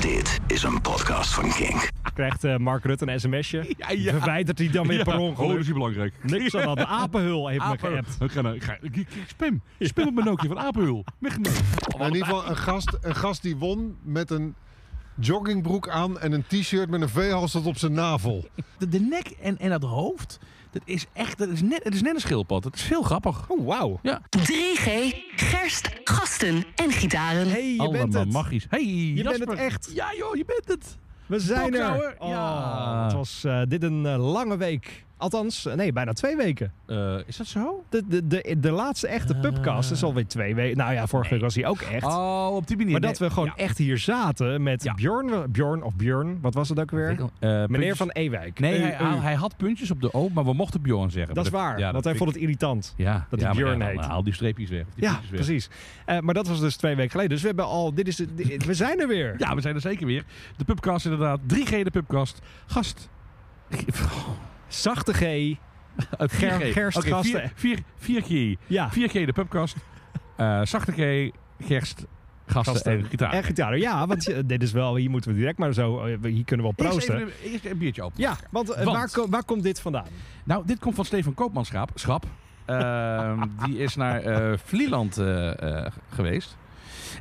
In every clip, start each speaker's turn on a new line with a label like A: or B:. A: Dit is een podcast van Kink.
B: Krijgt eh, Mark Rutte een sms'je.
C: Ja, ja.
B: Verwijdert hij dan weer per
C: oh, dat
B: ongeluk.
C: is niet belangrijk.
B: Niks aan dat. De apenhul heeft me
C: Apenhul.
B: geappt.
C: Ik, ga naar- ik, ga- ik, ik- ik spam. Spam op mijn Nokia van Apenhul. Weggenomen.
D: Maar in ieder geval een gast, een gast die won met een joggingbroek aan en een t-shirt met een veehals tot op zijn navel.
E: De, de nek en, en dat hoofd, dat is echt, dat is net, het is net een schildpad. Het is heel grappig.
C: Oh, wauw.
F: 3G, gerst, gasten en gitaren.
B: hey, je bent
E: Allemaal
B: het.
E: magisch. Hey,
B: Je bent het echt.
E: Ja joh, je bent het.
B: We zijn er.
E: Kopkouwer.
B: Oh,
E: Ja.
B: Het was eh, dit een eh, lange week. Althans, eh, nee, bijna twee weken.
E: Eh, is dat zo?
B: De, de, de, de laatste echte
E: Ah.
B: pubcast is alweer twee weken. Nou ja, vorige week was hij ook echt.
E: Oh, op die manier.
B: maar dat we gewoon echt hier zaten met
E: Ja.
B: Bjorn, Bjorn of Bjorn, wat was het ook weer? Eh, Meneer van Ewijk.
E: Nee,
B: U,
E: hij,
B: u.
E: hij had puntjes op de O, maar we mochten Bjorn zeggen.
B: dat is waar,
E: Ja,
B: want hij vond het irritant.
E: Ja,
B: dat
E: ja,
B: hij
E: maar
B: Björn
E: ja, dan
B: heet.
E: Haal die streepjes weg. of die
B: Ja,
E: puntjes weg.
B: precies. Eh, maar dat was dus twee weken geleden. Dus we hebben al, dit is, de- dit- we zijn er weer.
E: Ja, we zijn er zeker weer. De pubcast inderdaad. 3G de pubcast. Gast.
B: Zachte G. Ger-
E: 4G.
B: gerstgasten.
E: Oké, vier- vier- 4G.
B: Ja.
E: 4G de pubcast. Eh zachte G, gerst, gasten,
B: Gasten.
E: en gitaar.
B: En gitaar. Ja, want eh, dit is wel, hier moeten we direct maar zo, eh, we- hier kunnen we op
E: Eerst
B: proosten.
E: even een, eerst een biertje open.
B: Ja, want, eh,
E: Want-
B: Waar, ko- waar komt dit vandaan?
E: Nou, dit komt van Stefan Koopmanschap. Schap. Ehm, die is naar eh Vlieland eh, eh, geweest.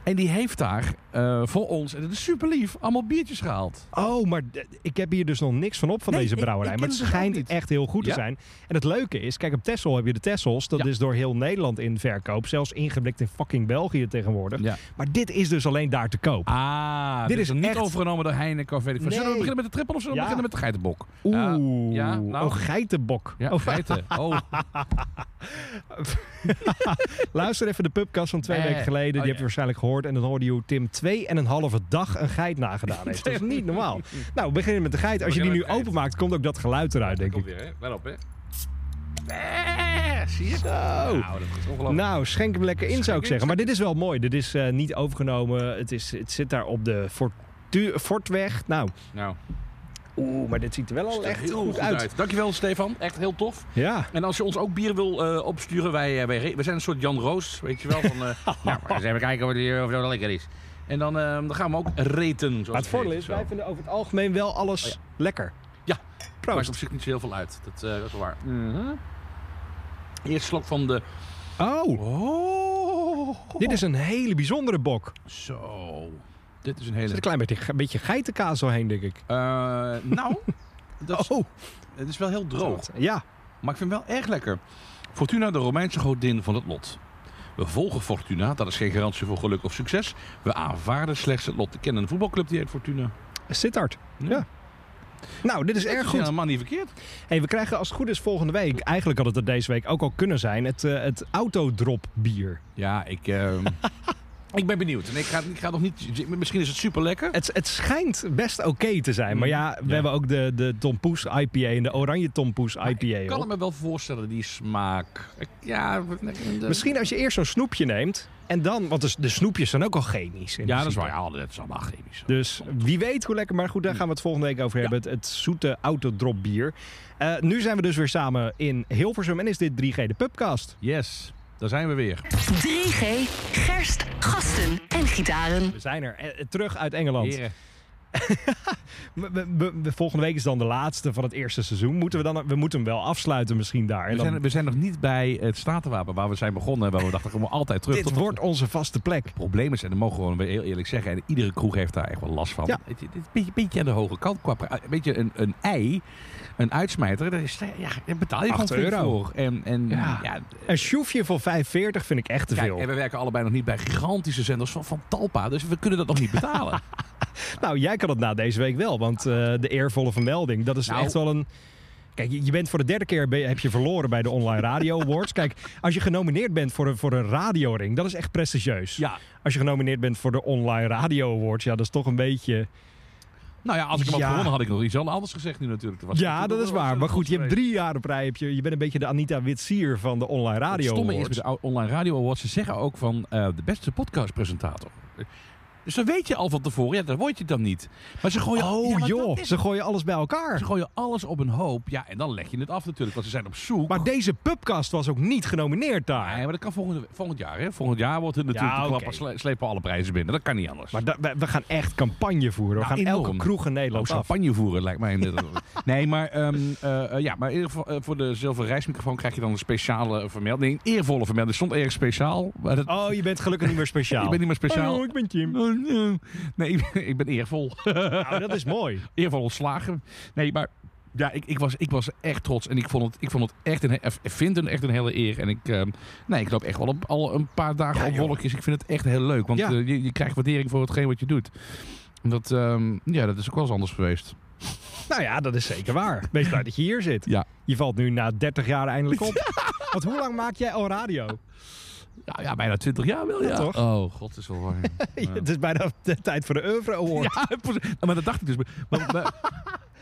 E: En die heeft daar eh, voor ons, en dat is super lief, allemaal biertjes gehaald.
B: Oh, maar d- ik heb hier dus nog niks van op van
E: Nee,
B: deze
E: ik-
B: brouwerij.
E: ik
B: maar
E: ken
B: het
E: het dus ook
B: schijnt
E: niet.
B: echt heel goed
E: Ja.
B: te zijn. En het leuke is, kijk, op Texel heb je de Tessels. Dat
E: Ja.
B: is door heel Nederland in verkoop. Zelfs ingeblikt in fucking België tegenwoordig.
E: Ja.
B: Maar dit is dus alleen daar te koop.
E: Ah, dit,
B: Dit
E: is
B: is
E: nog niet
B: echt-
E: overgenomen door Heineken of weet ik veel. Zullen we
B: Nee.
E: beginnen met de trippel of zullen we
B: Ja.
E: beginnen met de geitenbok?
B: Oeh,
E: ja, nou.
B: oh, geitenbok.
E: Ja,
B: Oh,
E: feiten. Oh,
B: Luister even de pubcast van twee
E: Nee.
B: weken geleden.
E: Oh,
B: Die heb je
E: ja.
B: waarschijnlijk gehoord. En dan hoorde je hoe Tim twee en een halve dag een geit nagedaan heeft. Dat is niet normaal. Nou, we beginnen met de geit. Als je die
E: beginnen
B: nu
E: met de geit.
B: openmaakt, komt ook dat geluid eruit, denk ik.
E: weer, hè? Let op, hè? Eh, zie je? Nou, dat is ongelooflijk.
B: Nou, schenk hem lekker in, zou ik
E: Schenk in,
B: zeggen. Maar dit is wel mooi. Dit is eh, niet overgenomen. Het, is, het zit daar op de Fortu- Fortweg. Nou,
E: Nou,
B: oeh, maar dit ziet er wel al
E: ziet er
B: echt
E: heel
B: goed, uit.
E: Dankjewel, Stefan. Echt heel tof.
B: Ja.
E: En als je ons ook bier wil eh, opsturen, wij, eh, wij, re- wij zijn een soort Jan Roos, weet je wel. Van, eh, nou, eens even kijken wat hier, of dat lekker is. En dan, eh, dan gaan we hem ook reten. Zoals
B: Maar het voordeel is, wij vinden over het algemeen wel alles
E: Oh, ja.
B: lekker.
E: Ja. maakt
B: proost.
E: op zich niet zo heel veel uit. Dat, eh, dat is wel waar.
B: Mhm.
E: Eerst slok van de...
B: Oh,
E: Oh,
B: dit is een hele bijzondere bok.
E: Zo. Dit is een
B: Er zit
E: hele...
B: een klein beetje, een beetje geitenkaas doorheen, denk ik.
E: Eh, nou, dat is,
B: Oh,
E: het is wel heel droog.
B: ja.
E: Maar ik vind hem wel erg lekker. Fortuna, de Romeinse godin van het lot. We volgen Fortuna, dat is geen garantie voor geluk of succes. We aanvaarden slechts het lot. Ik ken een voetbalclub die heet Fortuna. Hm?
B: Sittard. Ja. Nou, dit is erg
E: Dat is
B: goed.
E: helemaal niet verkeerd.
B: Hey, we krijgen als het goed is volgende week, eigenlijk had het er deze week ook al kunnen zijn, het, eh, het autodrop bier.
E: Ja, ik, ehm, ik ben benieuwd. En ik ga, ik ga nog niet... Misschien is het super lekker.
B: Het, het schijnt best oké te zijn, maar ja, we
E: Mm, Ja. Ah,
B: hebben ook de, de Tom Poes IPA en de Oranje Tom Poes IPA.
E: Ik kan
B: op.
E: het me wel voorstellen, die smaak. Ik- Ja, de-
B: Misschien als je eerst zo'n snoepje neemt en dan, want dus de, de snoepjes zijn ook al chemisch. in
E: Ja, dat is
B: principe.
E: waar. Ja, Mm. dat is allemaal chemisch.
B: Dus wie weet hoe lekker. Maar goed, daar gaan we het volgende week over hebben. Het, het zoete autodrop bier. Eh, nu zijn we dus weer samen in Hilversum en is dit 3G de Pubcast.
E: Yes, daar zijn we weer.
F: 3G, gerst, gasten en gitaren.
B: We zijn er. Eh, eh, terug uit Engeland.
E: Heren.
B: We- we- we- we- volgende week is dan de laatste van het eerste seizoen. Moeten we, dan, we moeten hem wel afsluiten misschien daar. En
E: We
B: dan,
E: zijn, we zijn nog niet bij het statenwapen waar we zijn begonnen. en Waar we dachten, we komen altijd terug.
B: dit
E: tot-
B: wordt onze vaste plek.
E: probleem is, en dat mogen we gewoon weer heel eerlijk zeggen, en iedere kroeg heeft daar echt wel last van.
B: Ja.
E: Het, het is een beetje, beetje aan de hoge kant. Qua, pri- weet je, een, een ei, een uitsmijter, daar, is, eh, ja, daar betaal je gewoon
B: Acht
E: flink
B: euro.
E: voor. En, en,
B: Ja.
E: ja.
B: Een sjoefje voor 45 vind ik echt te
E: Kijk,
B: veel.
E: en we werken allebei nog niet bij gigantische zenders van, van Talpa, dus we kunnen dat nog niet betalen.
B: Nou, jij kan het na deze week wel. Want eh, de eervolle vermelding, dat is
E: Nou.
B: echt wel een... Kijk, je je bent voor de derde keer ben je- heb je verloren bij de Online Radio Awards. Kijk, als je genomineerd bent voor een, voor een radioring, dat is echt prestigieus.
E: ja.
B: Als je genomineerd bent voor de Online Radio Awards, ja, dat is toch een beetje...
E: Nou ja, als ik hem had
B: Ja.
E: gewonnen had ik nog iets anders gezegd nu natuurlijk. Dat was
B: Ja,
E: natuurlijk
B: dat is
E: wel
B: waar.
E: een
B: Maar goed, je hebt
E: geweest.
B: drie jaar op rij. Heb je, je bent een beetje de Anita Witsier van de Online Radio
E: Het stomme
B: Awards.
E: is met de online radio awards, ze zeggen ook van eh, de beste podcastpresentator. Dus dan weet je al van tevoren, ja, dat word je dan niet. Maar ze gooien,
B: Oh
E: ja, maar
B: joh,
E: dat is
B: ze gooien alles bij elkaar.
E: Ze gooien alles op een hoop. Ja, en dan leg je het af natuurlijk, want ze zijn op zoek.
B: Maar deze pubcast was ook niet genomineerd daar.
E: Nee, maar dat kan volgende, volgend jaar. Hè? Volgend jaar wordt het natuurlijk
B: Ja,
E: de
B: oké.
E: klappen, sle- slepen alle prijzen binnen. Dat kan niet anders.
B: Maar da- we, we gaan echt campagne voeren. We
E: Nou,
B: gaan elke
E: enorm.
B: kroeg in
E: ook
B: Nederland af.
E: champagne voeren lijkt mij. net- nee, maar, ehm, eh, eh, ja, maar in ieder geval, eh, voor de zilveren reismicrofoon krijg je dan een speciale vermelding. Eervolle vermelding. Er stond erg speciaal. Maar dat,
B: Oh, je bent gelukkig niet meer speciaal.
E: Ik ben niet meer speciaal.
B: Hallo, ik ben Jim.
E: Oh, Nee, ik ben, ik ben eervol.
B: Nou, dat is mooi.
E: eervol ontslagen. Nee, maar ja, ik, ik, was, ik was echt trots. En ik vond het, ik vond het echt een, he- ik vind het echt een hele eer. En ik, ehm, nee, ik loop echt wel op, al een paar dagen op wolkjes. Ik vind het echt heel leuk. Want
B: Ja.
E: eh, je, je krijgt waardering voor hetgeen wat je doet. Omdat, ehm, ja, dat is ook wel eens anders geweest.
B: Nou ja, dat is zeker waar. Wees blij dat je hier zit.
E: Ja.
B: Je valt nu na 30 jaar eindelijk op. Want hoe lang maak jij al radio?
E: Ja, ja bijna 20 jaar wel, ja.
B: toch?
E: Oh, god, is wel warm.
B: Het is bijna de tijd voor de Euro Award.
E: ja, precies. maar dat dacht ik dus. Maar, maar-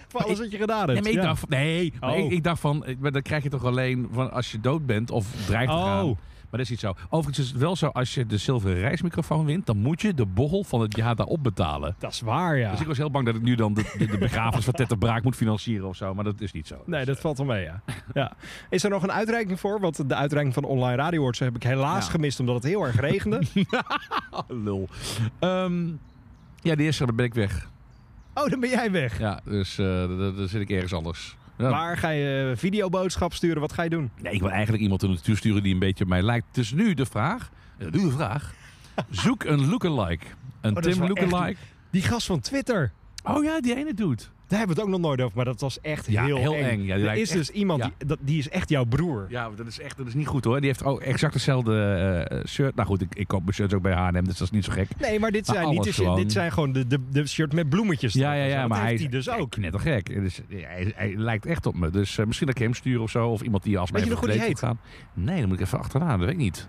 B: Voor alles wat je gedaan
E: nee,
B: hebt.
E: maar ik
B: Ja.
E: dacht van, nee, maar
B: Oh.
E: ik, ik dacht van, eh, maar dat krijg je toch alleen van als je dood bent of dreigt te gaan.
B: Oh.
E: Maar dat is niet zo. Overigens is het wel zo, als je de zilveren reismicrofoon wint, dan moet je de bochel van het jaar daarop betalen.
B: Dat is waar, ja.
E: Dus ik was heel bang dat ik nu dan de, de, de begrafenis van Ted de Braak moet financieren of zo, maar dat is niet zo.
B: Nee, dat valt wel mee, ja. ja. Is er nog een uitreiking voor? Want de uitreiking van de Online Radio Awards heb ik helaas
E: Ja.
B: gemist, omdat het heel erg regende.
E: Ah, lul. Ehm, ja, de eerste dan ben ik weg.
B: Oh, dan ben jij weg.
E: Ja, dus eh, d- d- dan zit ik ergens anders. Ja.
B: Waar ga je eh, videoboodschap sturen? Wat ga je doen?
E: Nee, ik wil eigenlijk iemand in de natuur sturen die een beetje op mij lijkt. Dus nu de vraag, eh, nu de vraag, zoek een lookalike. Een
B: Oh, dat is
E: Tim
B: wel echt
E: lookalike.
B: Die gast van Twitter.
E: Oh ja, die ene doet.
B: Daar hebben we het ook nog nooit over, maar dat was echt
E: Ja,
B: heel,
E: heel
B: eng.
E: eng. Ja, die
B: er
E: lijkt
B: is
E: echt-
B: dus iemand,
E: ja.
B: die, dat, die is echt jouw broer.
E: Ja, dat is echt dat is niet goed hoor. Die heeft ook exact hetzelfde eh, shirt. Nou goed, ik, ik koop mijn shirts ook bij H&M, dus dat is niet zo gek.
B: Nee, maar dit
E: Maar
B: zijn, niet de
E: alles
B: shit-
E: gewoon.
B: dit zijn gewoon de, de, de shirt met bloemetjes.
E: Ja,
B: erop
E: ja,
B: en zo.
E: ja,
B: Dat
E: maar hij
B: heeft
E: is
B: hij dus ook.
E: knettergek. Dus hij, hij lijkt echt op me. Dus eh, misschien dat ik hem stuur of zo. Of iemand die als
B: Weet je
E: mij
B: nog hoe die
E: verkleed wil gaan. Nee, dan moet ik even achteraan. Dat weet ik niet.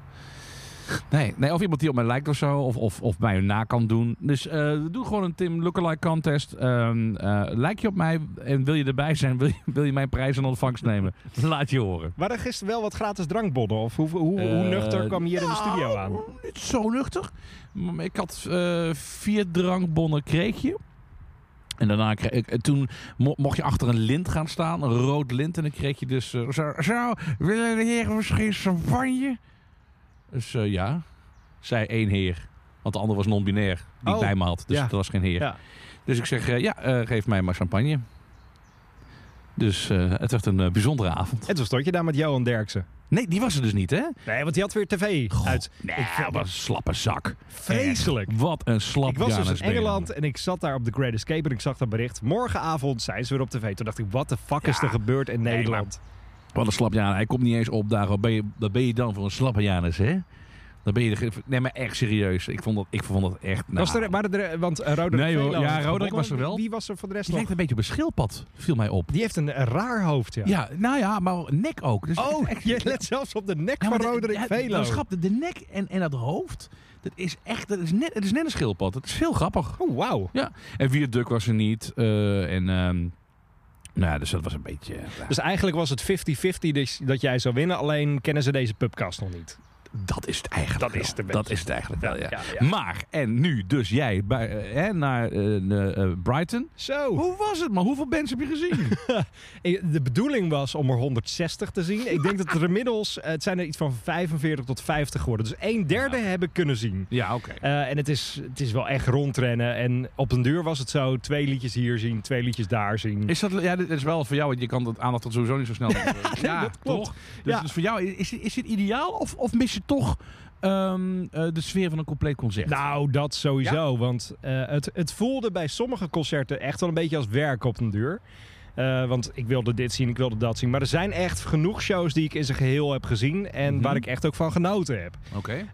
E: Nee, nee, of iemand die op mij lijkt of zo. Of, of, of mij na kan doen. Dus eh, we doen gewoon een Tim Lookalike contest. Ehm eh, lijk je op mij en wil je erbij zijn? Wil je, wil je mijn prijs in ontvangst nemen? Laat je horen.
B: Waren er gisteren wel wat gratis drankbonnen? Of hoe, hoe, hoe
E: Eh, Oh,
B: nuchter kwam je hier in de studio aan?
E: Niet zo nuchter. Maar Ik had eh, vier drankbonnen kreeg je. En daarna kreeg ik, en toen mo- mocht je achter een lint gaan staan, een rood lint. En dan kreeg je dus, eh, zo, zo, willen de heren misschien champagne? Dus eh, ja, zei één heer. Want de ander was non-binair, die
B: Oh,
E: ik bij me had. Dus
B: ja.
E: dat was geen heer.
B: Ja.
E: Dus ik zeg, eh, ja, eh, geef mij maar champagne. Dus eh, het werd een eh, bijzondere avond.
B: En toen stond je daar met Johan Derksen.
E: Nee, die was er dus niet, hè?
B: Nee, want die had weer tv uit.
E: Nee,
B: Ik vind-
E: wat een slappe zak.
B: Vreselijk.
E: Echt, Wat een slap
B: Ik was dus
E: Janus
B: in
E: ben je
B: Engeland
E: dan.
B: en ik zat daar op The Great Escape en ik zag dat bericht. Morgenavond zijn ze weer op tv. Toen dacht ik, wat de fuck is
E: Ja.
B: er gebeurd in
E: Nee,
B: Nederland?
E: Wat een slap Janus. Hij komt niet eens op daar. Ben je, dat ben je dan voor een slappe Janus, hè? Dan ben je de, ge- nee, maar echt serieus. Ik vond dat, ik vond dat echt... Nou,
B: was er, waren er, want eh, Roderick
E: Nee, hoor.
B: Velo
E: Ja,
B: had
E: Roderick
B: gewonnen.
E: was er wel.
B: Wie, wie was er voor de rest
E: die
B: nog?
E: lijkt een beetje op een schildpad, viel mij op.
B: Die heeft een, een raar hoofd, ja.
E: Ja, nou ja, maar nek ook. Dus
B: Oh,
E: echt-
B: je let zelfs op de nek
E: Ja, maar
B: van
E: de-
B: Roderick
E: ja,
B: Velo.
E: dat is grappig. de nek en, en dat hoofd, dat is echt, dat is net, het is net een schildpad. Het is heel grappig.
B: Oh, wauw.
E: Ja, en Wierd Duk was er niet. eh, en, ehm, nou ja, dus dat was een beetje... ja.
B: Dus eigenlijk was het 50-50 dus dat jij zou winnen. Alleen kennen ze deze pubcast nog niet.
E: Dat is het eigenlijk.
B: Dat
E: wel.
B: is het een beetje.
E: dat is het eigenlijk wel, ja.
B: Ja, ja.
E: Maar, en nu dus jij bij, eh, hè, naar eh, eh, Brighton.
B: Zo.
E: Hoe was het, man? Hoeveel bands heb je gezien?
B: De bedoeling was om er 160 te zien. Ik denk dat er inmiddels, eh, het zijn er iets van 45 tot 50 geworden. Dus een derde heb ik kunnen zien.
E: ja, oké.
B: Eh, en het is, het is wel echt rondrennen. En op den duur was het zo, twee liedjes hier zien, twee liedjes daar zien.
E: Is dat, ja, dit is wel voor jou, want je kan dat aandacht tot sowieso niet zo snel. ja,
B: dat klopt.
E: Toch? Dus,
B: Ja.
E: dus voor jou, is, is dit ideaal of, of mis je toch ehm, eh, de sfeer van een compleet concert?
B: Nou, dat sowieso. Want eh, het, het voelde bij sommige concerten echt wel een beetje als werk op den duur. Eh, want ik wilde dit zien, ik wilde dat zien. Maar er zijn echt genoeg shows die ik in zijn geheel heb gezien. En
E: Mhm.
B: waar ik echt ook van genoten heb.
E: Oké.
B: Eh,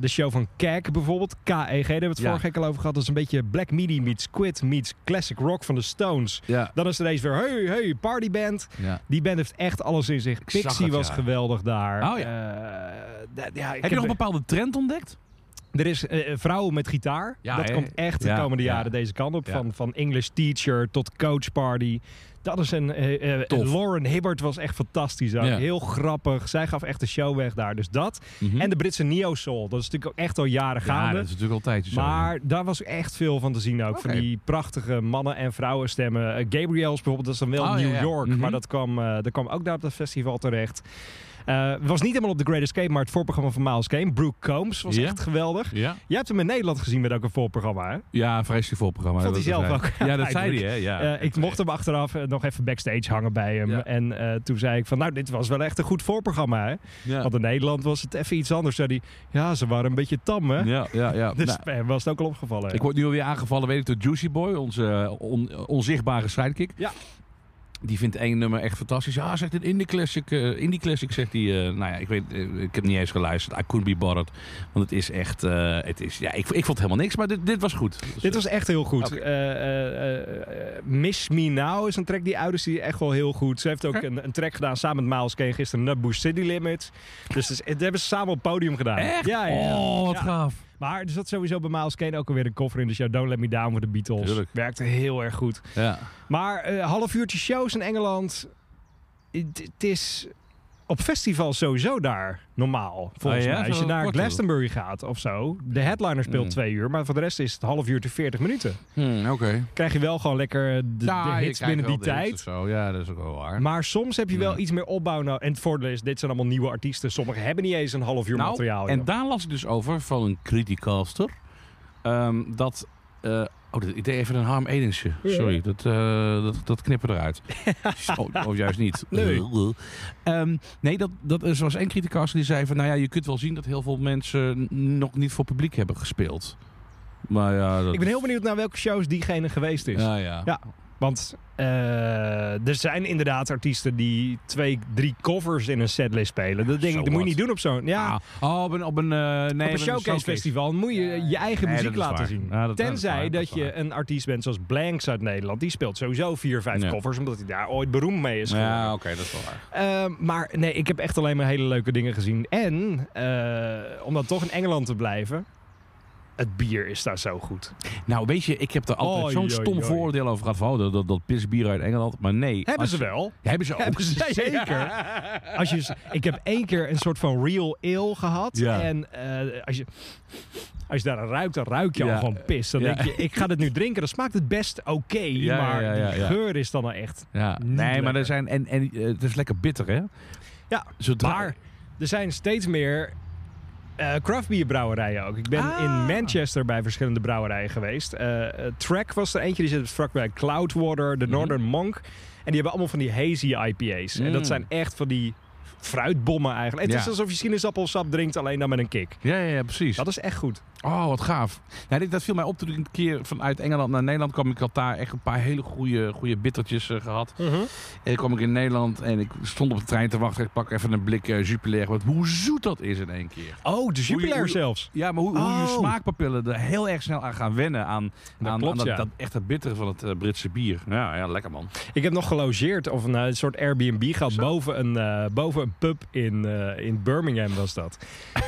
B: de show van Kek bijvoorbeeld, KEG, daar hebben we het
E: Ja.
B: vorige week al over gehad. Dat is een beetje Black Midi meets Quid meets Classic Rock van de Stones.
E: Ja.
B: Dan is er deze weer, hey, hey, partyband.
E: ja.
B: Die band heeft echt alles in zich.
E: zag
B: Pixie
E: het,
B: was
E: ja.
B: geweldig daar.
E: Oh ja.
B: Eh, d- ja, ik
E: Heb je nog een bepaalde trend ontdekt?
B: Er is eh, vrouwen met gitaar.
E: Ja,
B: dat
E: hè?
B: komt echt de
E: Ja,
B: komende
E: ja.
B: jaren deze kant op.
E: Ja.
B: Van, van English Teacher tot Coach Party. Dat is een... eh, eh,
E: Tof.
B: Lauren Hibbert was echt fantastisch. ook.
E: Ja.
B: Heel grappig. Zij gaf echt de show weg daar. Dus dat. En de Britse Neo Soul. Dat is natuurlijk ook echt al jaren
E: Mhm. Hm? Ja,
B: gaande.
E: dat is natuurlijk altijd zo.
B: Maar daar was echt veel van te zien ook. Van
E: Oké.
B: die prachtige mannen- en vrouwenstemmen. Eh, Gabriels bijvoorbeeld, dat is dan wel
E: Oh, ja,
B: New
E: ja.
B: York.
E: Mhm.
B: Maar dat kwam, eh, dat kwam ook daar op dat festival terecht. Eh, was niet helemaal op The Great Escape, maar het voorprogramma van Miles Kane. Brooke Combs was
E: Ja.
B: echt geweldig.
E: Ja,
B: Jij hebt hem in Nederland gezien met ook een voorprogramma, hè?
E: ja een vreselijk voorprogramma.
B: Vond
E: dat
B: hij zelf
E: dat zei-
B: ook.
E: Ja, dat zei hij,
B: Eigenlijk.
E: hè? Ja.
B: Eh, ik mocht hem achteraf eh, nog even backstage hangen bij hem.
E: Ja.
B: En eh, toen zei ik van, nou, dit was wel echt een goed voorprogramma, hè?
E: Ja.
B: Want in Nederland was het even iets anders. Zei hij, ja, ze waren een beetje tam, hè?
E: Ja, ja, ja.
B: Dus
E: Nou,
B: eh, was het ook al opgevallen.
E: ik word nu alweer aangevallen, weet ik, door Juicy Boy, onze eh, on- onzichtbare sidekick.
B: Ja.
E: Die vindt één nummer echt fantastisch. Ja, zegt een indie classic. eh, indie classic zegt hij. eh, nou ja, ik weet, eh, ik heb niet eens geluisterd. I couldn't be bothered. Want het is echt, eh, het is, ja, ik, ik vond helemaal niks, maar dit, dit was goed. Dus,
B: Dit was echt heel goed.
E: Oké.
B: Eh, eh, eh, eh, Miss Me Now is een track die uit is die echt wel heel goed. Ze heeft ook
E: Oké.
B: een, een track gedaan samen met Miles Kane gisteren, Nutbush City Limits. Dus het, is- het hebben ze samen op het podium gedaan.
E: Echt?
B: Ja, ja, ja.
E: Oh, wat
B: Ja.
E: gaaf.
B: Maar er zat sowieso bij Miles Kane ook alweer een koffer in de show. Don't Let Me Down voor de Beatles.
E: Tuurlijk.
B: Werkte heel erg goed.
E: Ja.
B: Maar eh, half uurtje shows in Engeland. Het het is op festivals sowieso daar normaal. Volgens
E: Ah ja?
B: mij. Als
E: Zo
B: je naar
E: kort is het.
B: Glastonbury gaat of zo. De headliner speelt
E: Mm.
B: twee uur. Maar voor de rest is het half uur te 40 minuten.
E: Hmm, Oké. Nou,
B: Krijg je wel gewoon lekker de, de hits binnen die tijd.
E: Zo. Ja, dat is ook wel waar.
B: Maar soms heb je wel
E: Mm.
B: iets meer opbouw nodig. En het voordeel is, dit zijn allemaal nieuwe artiesten. Sommigen hebben niet eens een half uur
E: Nou,
B: materiaal.
E: En
B: Oh, joh.
E: daar las ik dus over van een criticaster. ehm, dat. eh, oh, dat- ik deed even een Harm Edensje. Sorry, dat, eh, dat, dat knippen eruit. oh, of juist niet.
B: Nee.
E: Ehm, nee, dat, dat is, was één criticaster die zei van... Nou ja, je kunt wel zien dat heel veel mensen n- nog niet voor publiek hebben gespeeld. Maar ja, dat...
B: Ik ben heel benieuwd naar welke shows diegene geweest is.
E: Ja, ja.
B: Ja. Want eh, er zijn inderdaad artiesten die twee, drie covers in een setlist spelen. Dat denk
E: zo
B: ik, dat moet je
E: wat.
B: niet doen op zo'n... Ja,
E: Ah, oh, op een, op een, eh, nee,
B: op een showcase, festival moet je je eigen
E: Nee,
B: muziek
E: dat is
B: laten
E: waar.
B: zien.
E: Ja, dat- dat is
B: Tenzij
E: waar, dat
B: dat,
E: is
B: je
E: waar.
B: een artiest bent zoals Blanks uit Nederland. Die speelt sowieso vier, vijf
E: Ja.
B: covers, omdat hij daar ooit beroemd mee is geworden.
E: Ja, oké, dat is wel waar.
B: Eh, maar nee, ik heb echt alleen maar hele leuke dingen gezien. En eh, om dan toch in Engeland te blijven... Het bier is daar zo goed.
E: Nou, weet je, ik heb er altijd
B: Oei,
E: zo'n
B: oei,
E: stom
B: oei.
E: vooroordeel over gehad. Van, oh, dat, dat, dat pisbier uit Engeland. Maar nee.
B: Hebben
E: als-
B: ze wel.
E: Hebben ze ook.
B: Hebben ze zeker. Als je, ik heb één keer een soort van real ale gehad.
E: Ja.
B: En eh, als, je, als je daar aan ruikt, dan ruik je
E: Ja.
B: al gewoon pis. Dan
E: Ja.
B: denk je, ik ga dit nu drinken. Dan smaakt het best oké.
E: Ja,
B: maar
E: ja, ja,
B: die
E: ja.
B: geur is dan al echt...
E: Ja.
B: Niet
E: Nee, maar
B: lekker.
E: er zijn... En, en eh, het is lekker bitter, hè?
B: Ja,
E: Zodra...
B: maar er zijn steeds meer eh craftbierbrouwerijen ook. Ik ben
E: Ah.
B: in Manchester bij verschillende brouwerijen geweest. Eh, eh, Track was er eentje, die zit op het vlak bij Cloudwater,
E: Mhm.
B: de Northern Monk. En die hebben allemaal van die hazy IPA's. En
E: Mm.
B: dat zijn echt van die fruitbommen eigenlijk. Het
E: Ja.
B: is alsof je sinaasappelsap drinkt, alleen dan met een kick.
E: Ja, ja, ja, precies.
B: Dat is echt goed.
E: Oh, wat gaaf. Nou, dit, dat viel mij op toen ik een keer vanuit Engeland naar Nederland kwam. Ik had daar echt een paar hele goede, goede bittertjes eh, gehad. En dan kwam ik in Nederland en ik stond op de trein te wachten. Ik pak even een blik eh, Jupiler. Want hoe zoet dat is in één keer.
B: Oh, de
E: Hoe je-
B: Jupiler
E: hoe je-
B: zelfs.
E: Ja, maar hoe, hoe je
B: Oh.
E: smaakpapillen er heel erg snel aan gaan wennen. Aan,
B: Dat
E: aan,
B: klopt,
E: aan dat,
B: ja.
E: dat echte bittere van het eh, Britse bier. Ja, ja, lekker man.
B: Ik heb nog gelogeerd, of een, eh, soort Airbnb gehad, boven een, eh, boven een pub in, eh, in Birmingham was dat.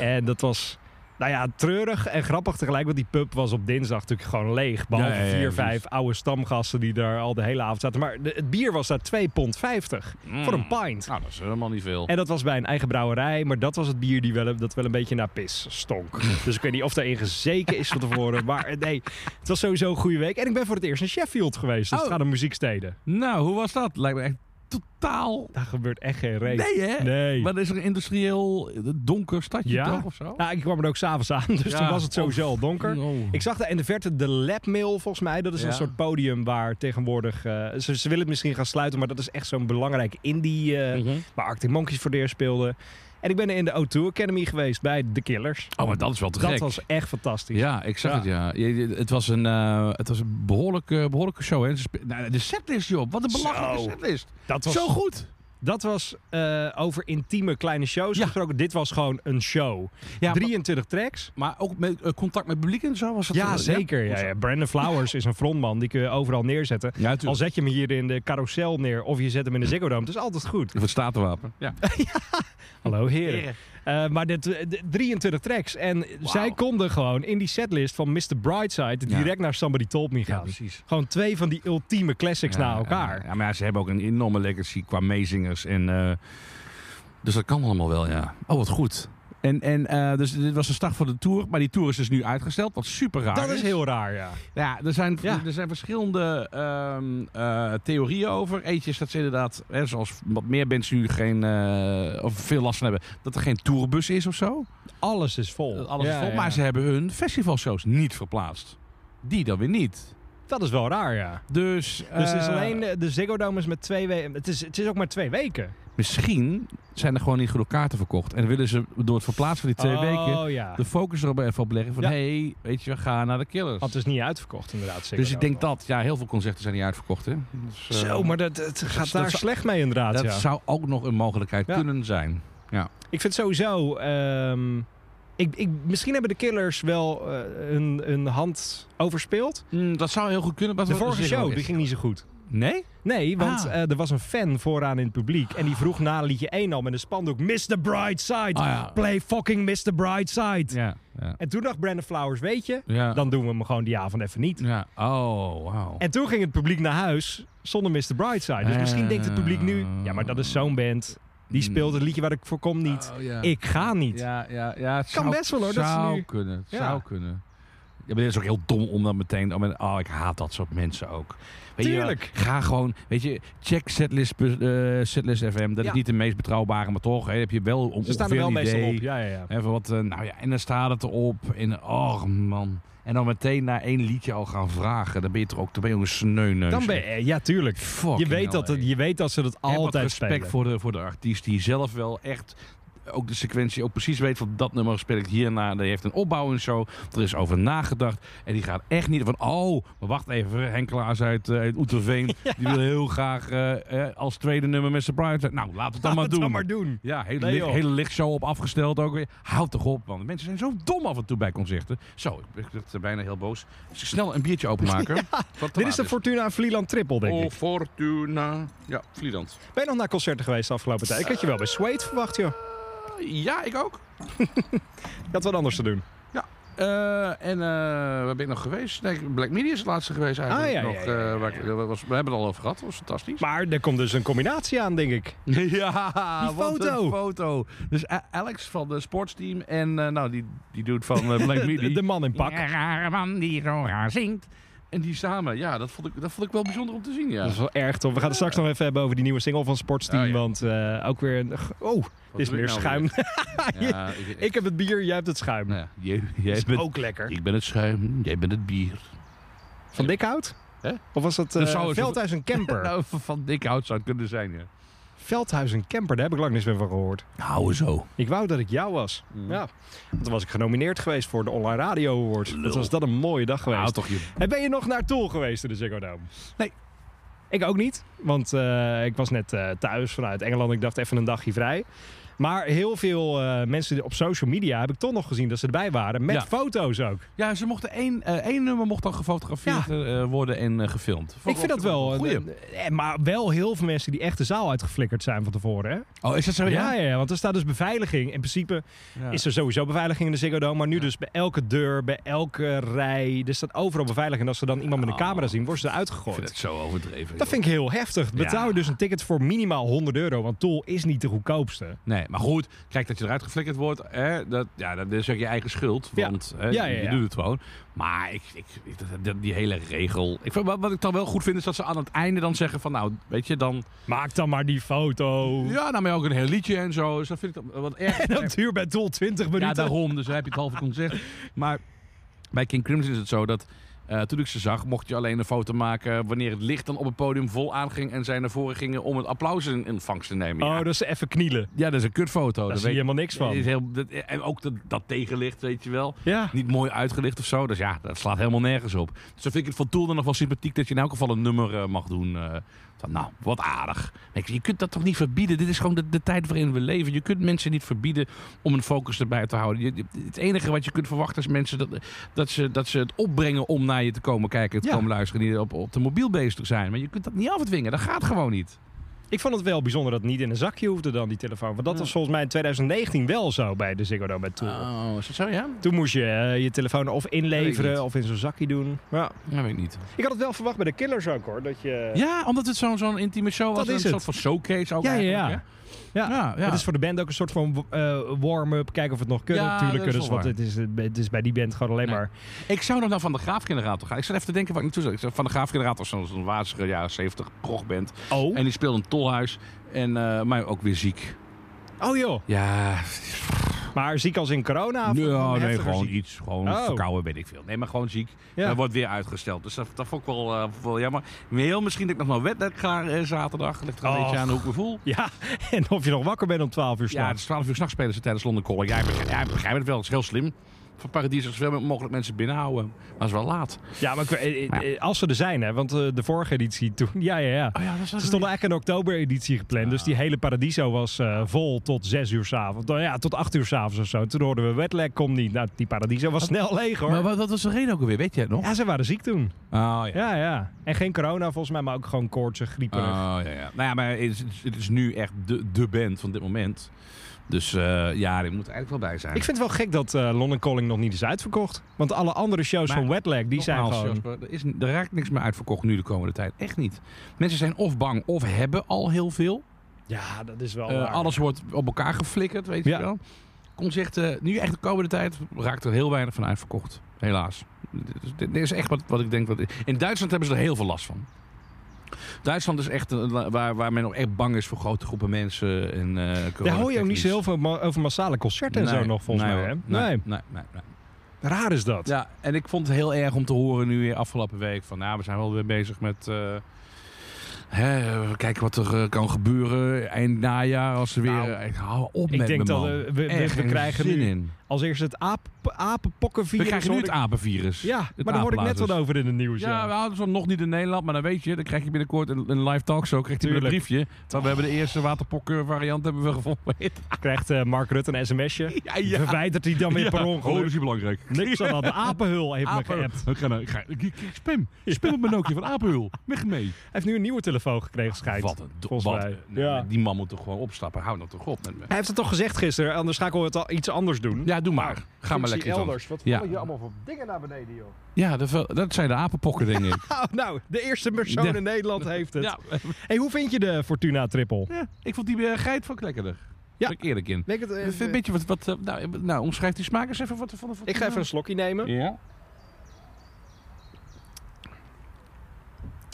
B: en dat was, nou ja, treurig en grappig tegelijk, want die pub was op dinsdag natuurlijk gewoon leeg. Behalve
E: Ja, ja, ja,
B: vier,
E: precies.
B: vijf oude stamgasten die daar al de hele avond zaten. Maar de- het bier was daar 2,50 pond
E: Mm.
B: voor een pint.
E: Nou, dat is helemaal niet veel.
B: En dat was bij een eigen brouwerij, maar dat was het bier die wel, dat wel een beetje naar pis stonk. dus ik weet niet of daarin gezeken is van tevoren, maar eh, nee, het was sowieso een goede week. En ik ben voor het eerst in Sheffield geweest, dus
E: Oh.
B: het gaat om muzieksteden.
E: Nou, hoe was dat? Lijkt me echt totaal...
B: Daar gebeurt echt geen reet.
E: Nee, hè?
B: Nee.
E: Maar dat is een industrieel eh, donker stadje
B: Ja.
E: toch of zo?
B: Nou, ik kwam er ook s'avonds aan, dus
E: Ja.
B: toen was het sowieso al donker.
E: Oh.
B: Ik zag daar in de verte de labmail, volgens mij. Dat is
E: Ja.
B: een soort podium waar tegenwoordig... eh, ze, ze willen het misschien gaan sluiten, maar dat is echt zo'n belangrijk indie... eh,
E: Mhm.
B: waar Arctic Monkeys voor de eerst speelden. En ik ben in de O2 Academy geweest bij The Killers.
E: Oh, maar dat is wel te
B: dat
E: gek.
B: was echt fantastisch.
E: Ja, ik zag
B: Ja.
E: het, ja. Je- je- Het was een, eh, het was een behoorlijke, behoorlijke show. Hè. Ze spe- nou, de setlist, joh. Wat een belachelijke
B: Zo.
E: setlist.
B: Dat was,
E: Zo goed.
B: dat was eh, over intieme kleine shows
E: Ja.
B: gesproken. Dit was gewoon een show.
E: Ja,
B: 23 tracks.
E: Maar ook met eh, contact met publiek en zo was dat
B: Ja, zeker. Ja, ja. Brandon Flowers is een frontman. Die kun je overal neerzetten.
E: Ja,
B: Al
E: natuurlijk.
B: zet je hem hier in de carousel neer of je zet hem in de Ziggo Dome, het is altijd goed.
E: Of het statenwapen. Ja.
B: Hallo heren. Eh, maar dit, eh, d- 23 tracks. En zij konden gewoon in die setlist van Mr. Brightside
E: Ja.
B: direct naar Somebody Told Me gaan.
E: precies.
B: gewoon twee van die ultieme classics na elkaar.
E: Ja, maar ja, ze hebben ook een enorme legacy qua meezingers. En, eh, dus dat kan allemaal wel, ja. Oh, wat goed. En, en eh, dus dit was de start van de tour. Maar die tour is dus nu uitgesteld. Wat super raar
B: Dat is heel raar, ja.
E: Ja, er zijn,
B: Ja.
E: Er zijn verschillende ehm, eh, theorieën over. Eentje is dat ze inderdaad, hè, zoals wat meer mensen nu geen, eh, of veel last van hebben, dat er geen tourbus is of zo.
B: Alles is vol.
E: Dat Alles
B: Ja,
E: is vol,
B: ja, ja.
E: maar ze hebben hun festivalshows niet verplaatst. Die dan weer niet.
B: Dat is wel raar, ja.
E: Dus,
B: Dus het is
E: eh,
B: alleen de, de Ziggo Dome is met twee weken. Het is, het is ook maar twee weken.
E: misschien zijn er gewoon niet genoeg kaarten verkocht. En willen ze door het verplaatsen van die twee weken
B: Oh ja.
E: de focus erop even op leggen van
B: Ja.
E: hey, weet je, we gaan naar de killers.
B: Want het is niet uitverkocht, inderdaad. Ziggo
E: dus ik
B: Dome
E: denk dat, ja, heel veel concerten zijn niet uitverkocht. Hè? Dus,
B: nog.
E: eh,
B: Zo, maar dat, het
E: dat
B: gaat
E: zou-
B: daar slecht mee, inderdaad.
E: Dat
B: ja.
E: zou ook nog een mogelijkheid
B: Ja.
E: kunnen zijn.
B: Ik vind sowieso. ehm, ik, ik, misschien hebben de killers wel eh, hun, hun hand overspeeld.
E: dat zou heel goed kunnen.
B: De vorige show die ging niet zo goed.
E: Nee?
B: Nee, want
E: Ah.
B: eh, er was een fan vooraan in het publiek. En die vroeg na liedje 1 al met een spandoek: Mr. Brightside.
E: Ah, ja.
B: Play fucking Mr. Brightside.
E: Ja. Ja.
B: En toen dacht Brandon Flowers: Weet je,
E: ja.
B: dan doen we hem gewoon die avond even niet.
E: ja. Oh, wauw.
B: En toen ging het publiek naar huis zonder Mr. Brightside. Dus misschien denkt het publiek nu: ja, maar dat is zo'n band. Die speelt het liedje waar ik voor kom niet.
E: Oh, ja.
B: Ik ga niet.
E: Ja, ja, ja. Het
B: Kan
E: zou-
B: best wel, hoor, dat ze
E: Zou
B: nu-
E: kunnen. Het
B: Ja.
E: Zou kunnen. Ja, maar dit is ook heel dom om dan meteen... oh, maar- Oh, ik haat dat soort mensen ook. Weet je wel,
B: Tuurlijk.
E: ga gewoon... Weet je, check Setlist, eh, Setlist FM. Dat
B: Ja.
E: is niet de meest betrouwbare, maar toch. Hè, heb je wel om,
B: Ze staan er wel
E: ongeveer een
B: meestal
E: idee.
B: op. Ja, ja, ja.
E: Even wat, eh, nou ja, en dan staat het erop. En, oh man. En dan meteen na één liedje al gaan vragen. Dan ben je toch ook, dan ben je ook een sneuneus.
B: Dan ben je, ja, tuurlijk.
E: Fucking
B: Je weet, dat,
E: hell,
B: het-
E: hey.
B: je weet dat ze dat
E: Heb wat
B: altijd
E: respect
B: spelen.
E: voor de, voor de artiest die zelf wel echt ook de sequentie ook precies weet van dat nummer speel ik hierna. Die heeft een opbouw en zo. Er is over nagedacht. En die gaat echt niet van, oh, maar wacht even. Henk Klaas uit, eh, uit Oeterveen. Die wil heel graag eh, eh, als tweede nummer met Surprise. Nou, laat het dan
B: Laat
E: maar
B: het
E: doen.
B: dan maar doen.
E: Ja, hele,
B: Nee,
E: licht-
B: joh.
E: hele lichtshow op afgesteld ook weer. Houd toch op, man. Mensen zijn zo dom af en toe bij concerten. Zo, ik ben echt, eh, bijna heel boos. Dus ik snel een biertje openmaken. Wat te
B: Dit
E: laat
B: is de Fortuna Vlieland Triple, denk
E: Oh,
B: ik.
E: Fortuna. Ja, Vlieland.
B: Ben je nog naar concerten geweest de afgelopen tijd? Ik had je wel bij Sweet verwacht, joh.
E: Eh, Ja, ik ook.
B: Je had wat anders te doen.
E: Eh, en eh, waar ben ik nog geweest? Nee, Black Media is het laatste geweest eigenlijk.
B: Ah, ja, ja,
E: nog,
B: ja, ja,
E: eh, waar ik- dat was, we hebben het al over gehad. Dat was fantastisch.
B: Maar er komt dus een combinatie aan, denk ik.
E: Ja,
B: Die
E: wat
B: foto.
E: een foto. Dus eh, Alex van de sportsteam en eh, nou, die, die dude van eh, Black Media.
B: De, de man in pak.
E: Een rare man die zo raar zingt. En die samen, ja, dat vond ik, dat vond ik wel bijzonder om te zien, ja.
B: Dat is wel erg, toch? We gaan het straks nog even hebben over die nieuwe single van Sportsteam.
E: Oh, ja.
B: Want eh, ook weer... een- Oh, dit is
E: doe ik
B: meer
E: nou
B: schuim.
E: Ja, ik,
B: ik heb het bier, jij hebt het schuim.
E: nou ja, jij, jij
B: Dat is
E: bent,
B: ook lekker.
E: ik ben het schuim, jij bent het bier.
B: Van Dikhout?
E: Hè?
B: Of was dat
E: Dat zou
B: eh
E: het-
B: Veldhuis en Kemper?
E: Nou, van- van dik hout zou het kunnen zijn, ja.
B: Veldhuis en Kemper, daar heb ik lang niks meer van gehoord.
E: Hou zo.
B: Ik wou dat ik jou was.
E: Mhm.
B: Ja. Want dan was ik genomineerd geweest voor de Online Radio Awards. Wat was dat een mooie dag geweest.
E: Hou Nou, toch je...
B: En ben je nog naar Tool geweest in de Ziggo Dome?
E: Nee.
B: Ik ook niet, want eh, ik was net eh, thuis vanuit Engeland. Ik dacht even een dagje vrij. Maar heel veel eh, mensen op social media heb ik toch nog gezien dat ze erbij waren. Met
E: Ja.
B: foto's ook.
E: Ja, ze mochten één, eh, één nummer mocht dan gefotografeerd eh, worden en eh, gefilmd. Vond
B: ik vind dat wel.
E: een goeie.
B: eh, eh, maar wel heel veel mensen die echt de zaal uitgeflikkerd zijn van tevoren. Hè?
E: Oh, is dat zo?
B: ja, ja, want er staat dus beveiliging. In principe
E: Ja.
B: is er sowieso beveiliging in de Ziggo Dome. Maar nu dus bij elke deur, bij elke rij. Er staat overal beveiliging. En als ze dan iemand met een camera zien, worden ze eruit
E: Ik
B: gegooid.
E: vind het zo overdreven.
B: Dat
E: joh.
B: vind ik heel heftig. Betaal je dus een ticket voor minimaal 100 euro. Want Tol is niet de goedkoopste.
E: Nee, maar goed, kijk dat je eruit geflikkerd wordt, hè, dat, ja, dat is ook je eigen schuld,
B: Ja.
E: want hè,
B: Ja, ja,
E: je
B: ja.
E: doet het gewoon. Maar ik, ik, ik- dat- dat- die hele regel, ik, vind- wat, wat ik dan wel goed vind is dat ze aan het einde dan zeggen van nou, weet je, dan,
B: Maak dan maar die foto.
E: ja, nou maar ook een heel liedje en zo, dus dat vind ik dan wat erg.
B: En dat duurt bij Tol 20 minuten.
E: Ja, daarom. Dus dan heb je het halve concert. Maar bij King Crimson is het zo dat... eh, toen ik ze zag, mocht je alleen een foto maken wanneer het licht dan op het podium vol aanging en zij naar voren gingen om het applaus in in ontvangst te nemen.
B: Oh,
E: ja.
B: dat is even knielen.
E: ja, dat is een kutfoto.
B: Daar
E: dat
B: zie je helemaal niks
E: is
B: van.
E: heel, dat- en ook dat, dat tegenlicht, weet je wel.
B: Ja.
E: Niet mooi uitgelicht of zo. Dus ja, dat slaat helemaal nergens op. Dus dan vind ik het van Tool dan nog wel sympathiek dat je in elk geval een nummer eh, mag doen. eh, van, nou, wat aardig. Nee, ik- je kunt dat toch niet verbieden? Dit is gewoon de, de tijd waarin we leven. Je kunt mensen niet verbieden om een focus erbij te houden. Je- je- het enige wat je kunt verwachten is mensen dat, dat, ze, dat ze het opbrengen om naar je te komen kijken, te
B: Ja.
E: komen luisteren, die op, op de mobiel bezig te zijn. Maar je kunt dat niet afdwingen. Dat gaat gewoon niet.
B: Ik vond het wel bijzonder dat het niet in een zakje hoefde dan, die telefoon. Want dat was volgens mij in 2019 wel zo bij de Ziggo Dome bij Tool.
E: Oh, is dat zo, ja?
B: Toen moest je eh, je telefoon of
E: Weet ik niet.
B: inleveren of in zo'n zakje doen. Ja.
E: Dat weet ik niet.
B: Ik had het wel verwacht bij de Killers ook hoor. Dat je...
E: Ja, omdat het zo'n zo'n intieme show was.
B: Dat
E: en
B: is
E: een
B: het.
E: soort van showcase ook
B: Ja, ja,
E: eigenlijk,
B: ja.
E: hè? Ja, ja.
B: Het is voor de band ook een soort van eh, warm-up. Kijken of we het nog kunnen.
E: Ja,
B: Natuurlijk
E: dat is
B: kunnen
E: wel
B: ze, want het is, het is bij die band gewoon alleen
E: Nee.
B: maar...
E: Ik zou nog naar Van de Graaf Generator gaan. Ik zat even te denken waar ik naartoe zou. Ik zou Van de Graaf Generator zo'n zo'n wazige jaren 70 progband.
B: Oh,
E: En die speelde een tolhuis. En, eh maar ook weer ziek.
B: oh joh.
E: Ja,
B: Maar ziek als in corona? of
E: ja
B: heftiger
E: nee, gewoon
B: ziek?
E: iets. Gewoon
B: Oh.
E: verkouden, weet ik veel. Nee, maar gewoon ziek.
B: Ja.
E: Dat wordt weer uitgesteld. Dus dat, dat vond ik wel, eh, wel jammer. Heel misschien dat ik nog naar een wedstrijd ga eh, zaterdag. Ligt er een
B: Och.
E: beetje aan hoe ik me voel.
B: Ja, en of je nog wakker bent om 12 uur
E: Ja, het
B: s'nachts.
E: is 12 uur s'nachts spelen ze tijdens London Calling. Jij begrijpt, jij begrijpt het wel, het is heel slim. Van Paradies zoveel mogelijk mensen binnenhouden. Maar het is wel laat.
B: Ja, maar ik- eh, eh, eh, als ze er zijn, hè, want eh, de vorige editie toen, ja, ja, ja.
E: Oh ja, dat is wel
B: Ze stonden eigenlijk een oktobereditie gepland, dus die hele Paradiso was eh, vol tot 6 uur s'avonds. Nou ja, tot 8 uur s'avonds of zo. Toen hoorden we wetlag komt niet. Nou, die Paradiso was snel leeg hoor.
E: Maar wat, wat was de reden ook alweer? Weet jij het nog?
B: Ja, ze waren ziek toen.
E: Oh ja.
B: Ja, Ah. ja. En geen corona volgens mij, maar ook gewoon koortsen, griepen.
E: Oh ja, ja. Nou ja, maar het is, het is nu echt de, de band van dit moment. Dus eh, ja, die moet er eigenlijk wel bij zijn.
B: Ik vind het wel gek dat eh, London Calling nog niet is uitverkocht. Want alle andere shows
E: Maar
B: van Wetlag, die zijn
E: Nogmaals,
B: gewoon...
E: Jasper, er, is, er raakt niks meer uitverkocht nu de komende tijd. Echt niet. Mensen zijn of bang of hebben al heel veel.
B: Ja, dat is wel
E: Eh,
B: waar.
E: alles wordt op elkaar geflikkerd, weet je
B: Ja.
E: wel. Concerten, nu echt de komende tijd, raakt er heel weinig van uitverkocht. Helaas. Dit is- Dit is echt wat, wat ik denk. Wat, in Duitsland hebben ze er heel veel last van. Duitsland is echt een la- waar, waar men nog echt bang is voor grote groepen mensen. En, eh
B: Daar hoor je ook niet
E: coronatechnisch.
B: zo heel veel ma- over massale concerten en
E: Nee,
B: zo nog, volgens
E: nee,
B: mij. Hè?
E: hoor.
B: Nee.
E: Nee, nee, nee, nee.
B: raar is dat.
E: Ja, en ik vond het heel erg om te horen nu weer afgelopen week van, nou, we zijn wel weer bezig met. eh, hè, we kijken wat er eh, kan gebeuren eind najaar als ze weer.
B: Nou,
E: eh, hou op
B: ik
E: met
B: denk
E: me,
B: dat,
E: man.
B: eh, we- we-
E: Echt
B: we
E: geen
B: krijgen
E: zin
B: nu-
E: in.
B: Als eerst het aap, apenpokkenvirus.
E: We krijgen nu
B: hoor
E: het
B: ik-
E: apenvirus.
B: Ja,
E: Het
B: maar daar hoor ik net
E: apenblazers.
B: wat over in het nieuws. Ja,
E: Ja, we hadden ze nog niet in Nederland, maar dan weet je, dan krijg je binnenkort een, een live talkshow, krijgt hij weer een
B: Tuurlijk.
E: briefje. Want we hebben de eerste waterpokken variant hebben we gevonden.
B: Krijgt eh, Mark Rutte een sms'je.
E: Ja, ja.
B: Verwijdert hij dan weer per
E: oh, dat
B: ongeluk.
E: is niet belangrijk.
B: Niks aan dat. De apenhul heeft me
E: Apen.
B: geappt.
E: Ik ga naar- ik ga- ik- ik-
C: Spim. Spim op mijn Nokia van Apenhul. Weg mee.
B: Hij heeft nu een nieuwe telefoon gekregen, schijnt.
E: Wat een do-
B: volgens
E: wat-
B: mij.
E: nou,
B: Ja.
E: Die man moet toch gewoon opstappen. Hou nou toch op met me.
B: Hij heeft het toch gezegd gisteren, anders ga ik wel wat al- iets anders doen.
E: Ja, doe maar. Ga maar
B: Functie
E: lekker iets anders.
B: Wat
E: Ja.
B: vallen hier allemaal voor dingen naar beneden, joh?
D: Oh,
E: Ja, dat, wel- dat zijn de apenpokken, denk ik.
B: Oh, nou, de eerste persoon
E: Ja.
B: in Nederland heeft het.
E: ja.
B: Hey, hoe vind je de Fortuna Triple?
E: Ja, ik vond die eh, geit van lekkerder.
B: Ja.
E: Ja. Ik eerlijk in.
B: Denk het, eh,
E: Een beetje wat... wat eh, nou, nou, omschrijf die smaak eens even wat er van de
B: ik ga even een slokje nemen.
E: Ja.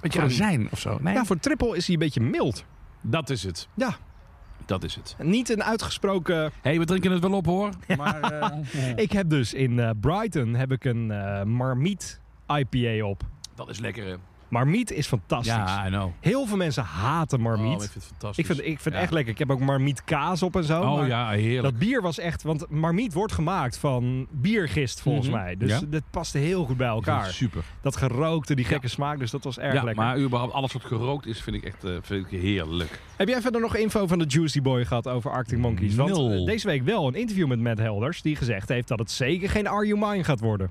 E: Beetje
B: Voor een-
E: azijn of zo. Nee,
B: Ja, voor triple is hij een beetje mild.
E: dat is het.
B: Ja.
E: Dat is het.
B: Niet een uitgesproken...
E: Hé, hey, we drinken het wel op, hoor. Maar, eh,
B: Ik heb dus in eh, Brighton heb ik een eh Marmiet IPA op.
E: dat is lekker, hè.
B: Marmiet is fantastisch.
E: Ja, I know.
B: Heel veel mensen haten Marmiet.
E: Oh, ik vind het fantastisch.
B: ik vind ik vind het
E: Ja.
B: echt lekker. Ik heb ook Marmiet kaas op en zo.
E: Oh
B: maar
E: ja, heerlijk.
B: Dat bier was echt... Want Marmiet wordt gemaakt van biergist, volgens
E: Mhm.
B: mij. Dus
E: Ja.
B: dat paste heel goed bij
E: Ik vind het
B: elkaar.
E: Super.
B: Dat gerookte, die gekke smaak. Dus dat was erg
E: ja,
B: lekker.
E: maar überhaupt alles wat gerookt is, vind ik echt eh, vind ik heerlijk.
B: Heb jij verder nog info van de Juicy Boy gehad over Arctic Monkeys? Want
E: Nul.
B: eh, deze week wel een interview met Matt Helders... die gezegd heeft dat het zeker geen Are You Mine gaat worden.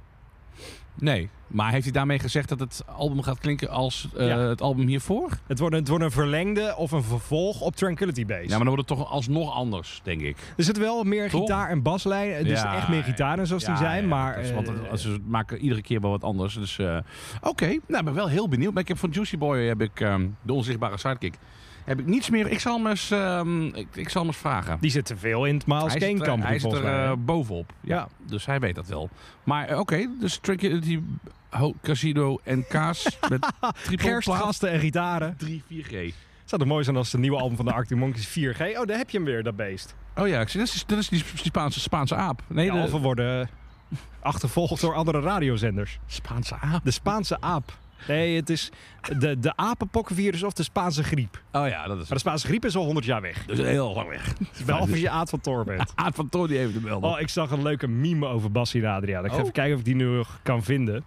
E: Nee, maar heeft hij daarmee gezegd dat het album gaat klinken als eh,
B: Ja.
E: het album hiervoor?
B: Het wordt, het wordt een verlengde of een vervolg op Tranquility Base.
E: Ja, maar dan wordt het toch alsnog anders, denk ik.
B: Er zit wel meer
E: Toch?
B: gitaar en baslijn. Dus
E: Ja,
B: echt meer gitaren zoals die
E: ja,
B: zijn.
E: ja,
B: maar
E: dat is- want het-
B: eh,
E: ze maken iedere keer wel wat anders. Dus eh, oké, nou, ben wel heel benieuwd. Maar ik heb van Juicy Boy heb ik ehm, de onzichtbare sidekick. Heb ik niets meer. Ik zal hem eens, ehm, ik, ik zal hem eens vragen.
B: die zit te veel in het Miles
E: hij
B: Kane
E: zit er,
B: kamp.
E: hij zit er
B: volgens mij.
E: eh, bovenop. Ja,
B: Ja.
E: Dus hij weet dat wel. Maar eh, oké, dus Tranquility Ho- Casino en Kaas met triple
B: Gerst,
E: plaat
B: gasten en gitaren.
E: 3 4G.
B: Het zou toch mooi zijn als de nieuwe album van de Arctic Monkeys 4G... Oh, daar heb je hem weer, dat beest.
E: Oh ja, ik zie, dat is, dat is die Sp- Spaanse, Spaanse aap. Nee,
B: Ja,
E: de
B: of we worden achtervolgd door andere radiozenders.
E: Spaanse aap.
B: De Spaanse aap. Nee, het is de, de apenpokkenvirus of de Spaanse griep. Maar
E: Oh ja, dat is,
B: de Spaanse griep is al 100 jaar weg.
E: dat is heel lang weg.
B: Behalve als
E: dus-
B: je Aad van Tor bent.
E: Aap van Tony heeft hem wel. nog.
B: Oh, ik zag een leuke meme over Bassi en Adriaan. Ik ga
E: Oh.
B: even kijken of ik die nu nog kan vinden.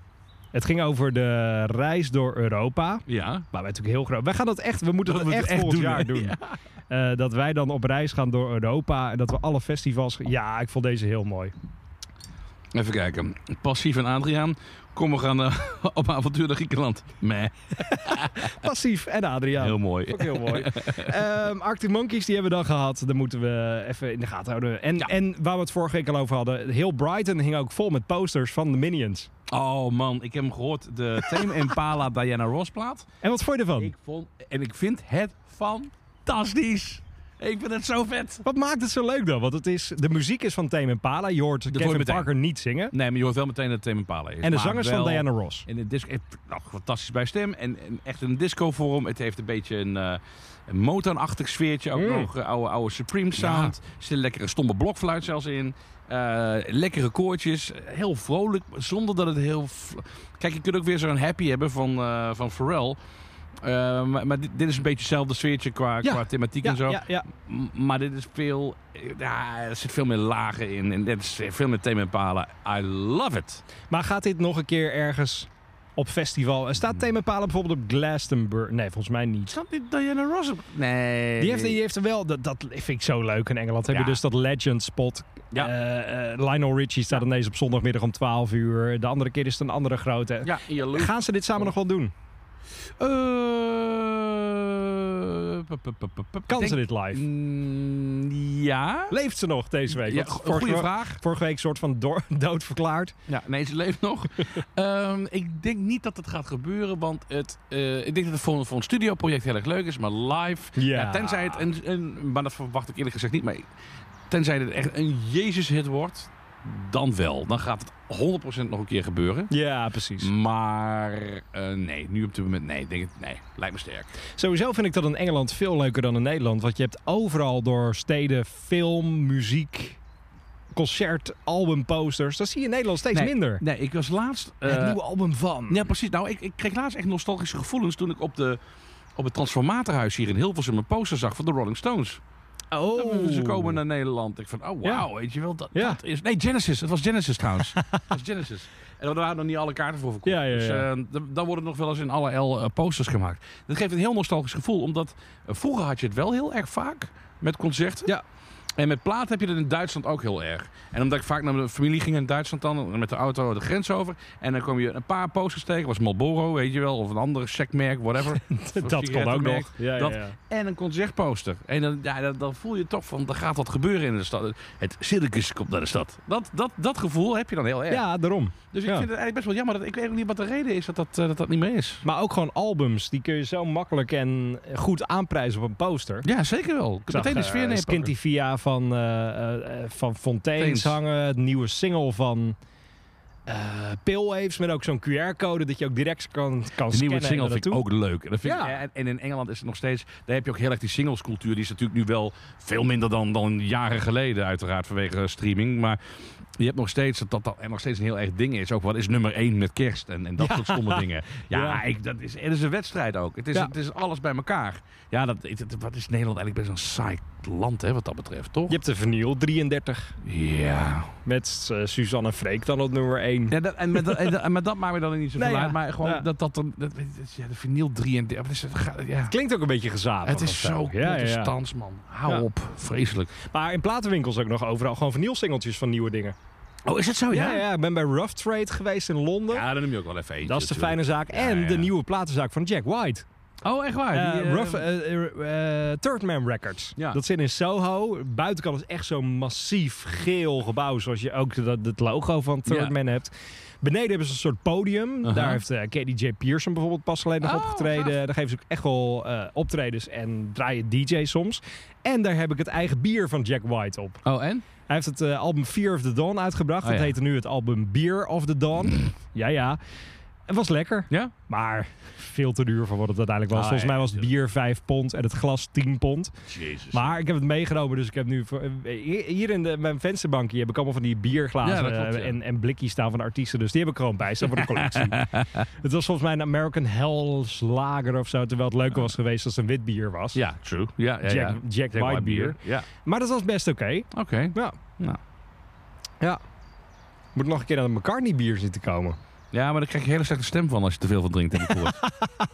B: Het ging over de reis door Europa.
E: Ja.
B: Maar wij natuurlijk heel groot. Wij gaan dat echt, we moeten dat,
E: Dat moeten we
B: echt,
E: echt
B: volgend
E: doen, hè?
B: jaar doen. Eh, dat wij dan op reis gaan door Europa en dat we alle festivals. Ja, ik vond deze heel mooi.
E: Even kijken. Passief en Adriaan. Kom, we gaan eh, op avontuur naar Griekenland. Meh,
B: Passief en Adriaan.
E: heel mooi.
B: Ook heel mooi. Ehm, Arctic Monkeys, die hebben we dan gehad. Dat moeten we even in de gaten houden. En, en waar we het vorige week al over hadden. Heel Brighton hing ook vol met posters van de Minions.
E: Oh man, ik heb hem gehoord. De Tame Impala Diana Ross plaat.
B: En wat vond je ervan?
E: Ik vond, en ik vind het fantastisch. Ik vind het zo vet.
B: Wat maakt het zo leuk dan? Want het is, de muziek is van Tame Impala. Je hoort
E: hoor je
B: Kevin
E: meteen.
B: Parker niet zingen.
E: Nee, maar je hoort wel meteen dat het Tame Impala is.
B: En de
E: Maar
B: zangers
E: wel-
B: van Diana Ross.
E: En het disco, het, nou, fantastisch bij stem. En, en echt een disco-vorm. Het heeft een beetje een, eh, een Motown-achtig sfeertje. Ook
B: Mm.
E: nog eh, oude, oude Supreme sound. Er zit een lekkere stomme blokfluit zelfs in. Eh, lekkere koortjes. Heel vrolijk. Zonder dat het heel... v- Kijk, je kunt ook weer zo'n happy hebben van, eh van Pharrell. Eh, maar maar dit, dit is een beetje hetzelfde sfeertje qua,
B: Ja.
E: qua thematiek
B: Ja,
E: en zo.
B: ja, ja.
E: M- Maar dit is veel... eh, Ja, er zit veel meer lagen in. En dit is veel meer thema palen. I love it.
B: Maar gaat dit nog een keer ergens op festival? En staat Tame Impala bijvoorbeeld op Glastonbury? Nee, volgens mij niet.
E: Snap niet Diana Ross op- Nee.
B: Die heeft, die heeft er wel, dat, dat vind ik zo leuk in Engeland. Heb je
E: Ja.
B: dus dat legend spot.
E: Ja.
B: Eh, eh, Lionel Richie staat ineens op zondagmiddag om 12 uur. De andere keer is het een andere grote.
E: Ja, in je
B: Gaan ze dit samen nog wel doen?
E: Eh,
B: Kan ze dit live?
E: Mm, Ja.
B: Leeft ze nog deze week?
E: ja
B: Want
E: go-
B: vorige,
E: goede
B: we-
E: vraag.
B: vorige week soort van door- dood verklaard.
E: Ja, nee, ze leeft nog. Ehm, ik denk niet dat het gaat gebeuren, want het, eh, ik denk dat het voor, voor een studioproject heel erg leuk is, maar live.
B: Ja.
E: tenzij het een, een. Maar dat verwacht ik eerlijk gezegd niet. Maar ik- tenzij het echt een Jezus-hit wordt, dan wel. Dan gaat het 100% nog een keer gebeuren.
B: Ja, precies.
E: Maar eh, nee, nu op dit moment nee. Ik Denk het, nee, lijkt me sterk.
B: Sowieso vind ik dat in Engeland veel leuker dan in Nederland. Want je hebt overal door steden film, muziek, concert, album, posters. Dat zie je in Nederland steeds
E: Nee,
B: minder.
E: Nee, ik was laatst...
B: het
E: eh,
B: nieuwe album van.
E: Ja, precies. Nou, ik, ik kreeg laatst echt nostalgische gevoelens toen ik op, de, op het Transformatorhuis hier in Hilversum een poster zag van de Rolling Stones.
B: Oh.
E: Ze komen naar Nederland. Ik van, oh wauw, weet je wel. Dat,
B: Ja.
E: dat is... Nee, Genesis. Het was Genesis trouwens. het was Genesis. En er waren nog niet alle kaarten voor verkocht.
B: Ja, ja,
E: Dus
B: ja.
E: eh, d- dan worden nog wel eens in alle L eh, posters gemaakt. Dat geeft een heel nostalgisch gevoel, omdat eh, vroeger had je het wel heel erg vaak met concerten.
B: Ja.
E: En met plaat heb je dat in Duitsland ook heel erg. En omdat ik vaak naar mijn familie ging in Duitsland dan, met de auto de grens over. En dan kwam je een paar posters tegen, was Marlboro, weet je wel, of een ander checkmerk, whatever. Of
B: Dat kan ook
E: sigarettenmerk.
B: nog. Ja,
E: Dat-
B: ja, ja.
E: En een concertposter. En dan, ja, dan, dan voel je toch van, er gaat wat gebeuren in de stad. Het circus komt naar de stad. Dat, dat, dat gevoel heb je dan heel erg.
B: ja, daarom.
E: dus ik
B: ja.
E: vind het eigenlijk best wel jammer. Dat, ik weet ook niet wat de reden is dat dat, eh, dat, dat niet meer is.
B: Maar ook gewoon albums, die kun je zo makkelijk en goed aanprijzen op een poster.
E: Ja, zeker wel. Ik
B: Ik
E: heb meteen de
B: zag,
E: sfeer
B: eh,
E: neerpakken.
B: Skintivia van, eh, eh, eh, van Fontaines
E: Fontaines.
B: hangen. Het nieuwe single van eh Pillwaves. Met ook zo'n QR-code dat je ook direct kan, kan
E: De nieuwe
B: scannen en
E: single vind ik
B: naartoe.
E: ook leuk. En, dat vind ik-
B: Ja.
E: en- en in Engeland is het nog steeds... Daar heb je ook heel erg die singlescultuur. Die is natuurlijk nu wel veel minder dan, dan jaren geleden. Uiteraard vanwege eh, streaming. Maar je hebt nog steeds... Dat dat, dat en nog steeds een heel erg ding is. Ook wat is nummer één met kerst en, en dat soort stomme dingen. Ja,
B: Ja.
E: Ik, dat is, het is een wedstrijd ook. Het is,
B: Ja.
E: het is alles bij elkaar. Ja, dat, het- het- wat is Nederland eigenlijk best een saai land hè, wat dat betreft, toch?
B: Je hebt de Verniel 33
E: Ja.
B: met eh, Suzanne Freek dan op nummer 1.
E: Ja, dat, en, met dat, en, dat- en met dat maakt me dan niet zoveel
B: Nee, ja.
E: uit. Maar gewoon
B: Ja.
E: dat dat... dan- dat, dat- ja, de vinyl 33... wat is het? Ga- Ja.
B: Klinkt ook een beetje gezapig.
E: Het
B: of
E: is zo
B: Ja, ja, ja.
E: protestants, man. Hou
B: Ja.
E: op. Vreselijk.
B: Maar in platenwinkels ook nog overal gewoon vernielsingeltjes van nieuwe dingen.
E: Oh, is het zo?
B: Ja, ja, ik ben bij Rough Trade geweest in Londen.
E: dan noem je ook wel even eentje.
B: Dat is de
E: natuurlijk.
B: fijne zaak.
E: Ja,
B: En
E: ja.
B: de nieuwe platenzaak van Jack White.
E: Oh, echt waar?
B: Eh,
E: Die, eh,
B: Rough, eh, eh, eh, Third Man Records.
E: Ja.
B: Dat zit in Soho. Buitenkant is echt zo'n massief geel gebouw. Zoals je ook dat, het logo van Third
E: Ja.
B: Man hebt. Beneden hebben ze een soort podium.
E: Aha.
B: Daar heeft eh, KDJ Pearson bijvoorbeeld pas geleden nog
E: Oh,
B: opgetreden.
E: gaaf.
B: Daar geven ze ook echt wel eh, optredens en draaien DJ soms. En daar heb ik het eigen bier van Jack White op.
E: Oh, en?
B: Hij heeft het eh, album Fear of the Dawn uitgebracht.
E: Oh,
B: dat
E: ja. Mm.
B: heette nu het album Beer of the Dawn. ja, ja. Het was lekker.
E: Ja?
B: Maar veel te duur voor wat het uiteindelijk was.
E: Ah,
B: Volgens mij
E: ja,
B: was het bier 5 pond en het glas 10 pond.
E: Jezus.
B: Maar ik heb het meegenomen, dus ik heb nu... voor- eh, Hier in de, mijn vensterbankje heb ik allemaal van die bierglazen
E: Ja, dat klopt,
B: eh,
E: ja.
B: en, en blikjes staan van de artiesten. Dus die heb ik gewoon bij staan voor de collectie. het was volgens mij een American Hell's Lager of zo. Terwijl het leuker was geweest als het een wit bier was.
E: Ja, true. Ja, ja, ja.
B: Jack, Jack
E: Jack
B: White bier.
E: Ja.
B: Maar dat was best oké.
E: Oké.
B: Ja.
E: Nou.
B: Ja. Moet nog een keer aan de McCartney bier zitten komen.
E: Ja, maar dan krijg je hele slechte stem van als je te veel van drinkt. Heb ik gehoord.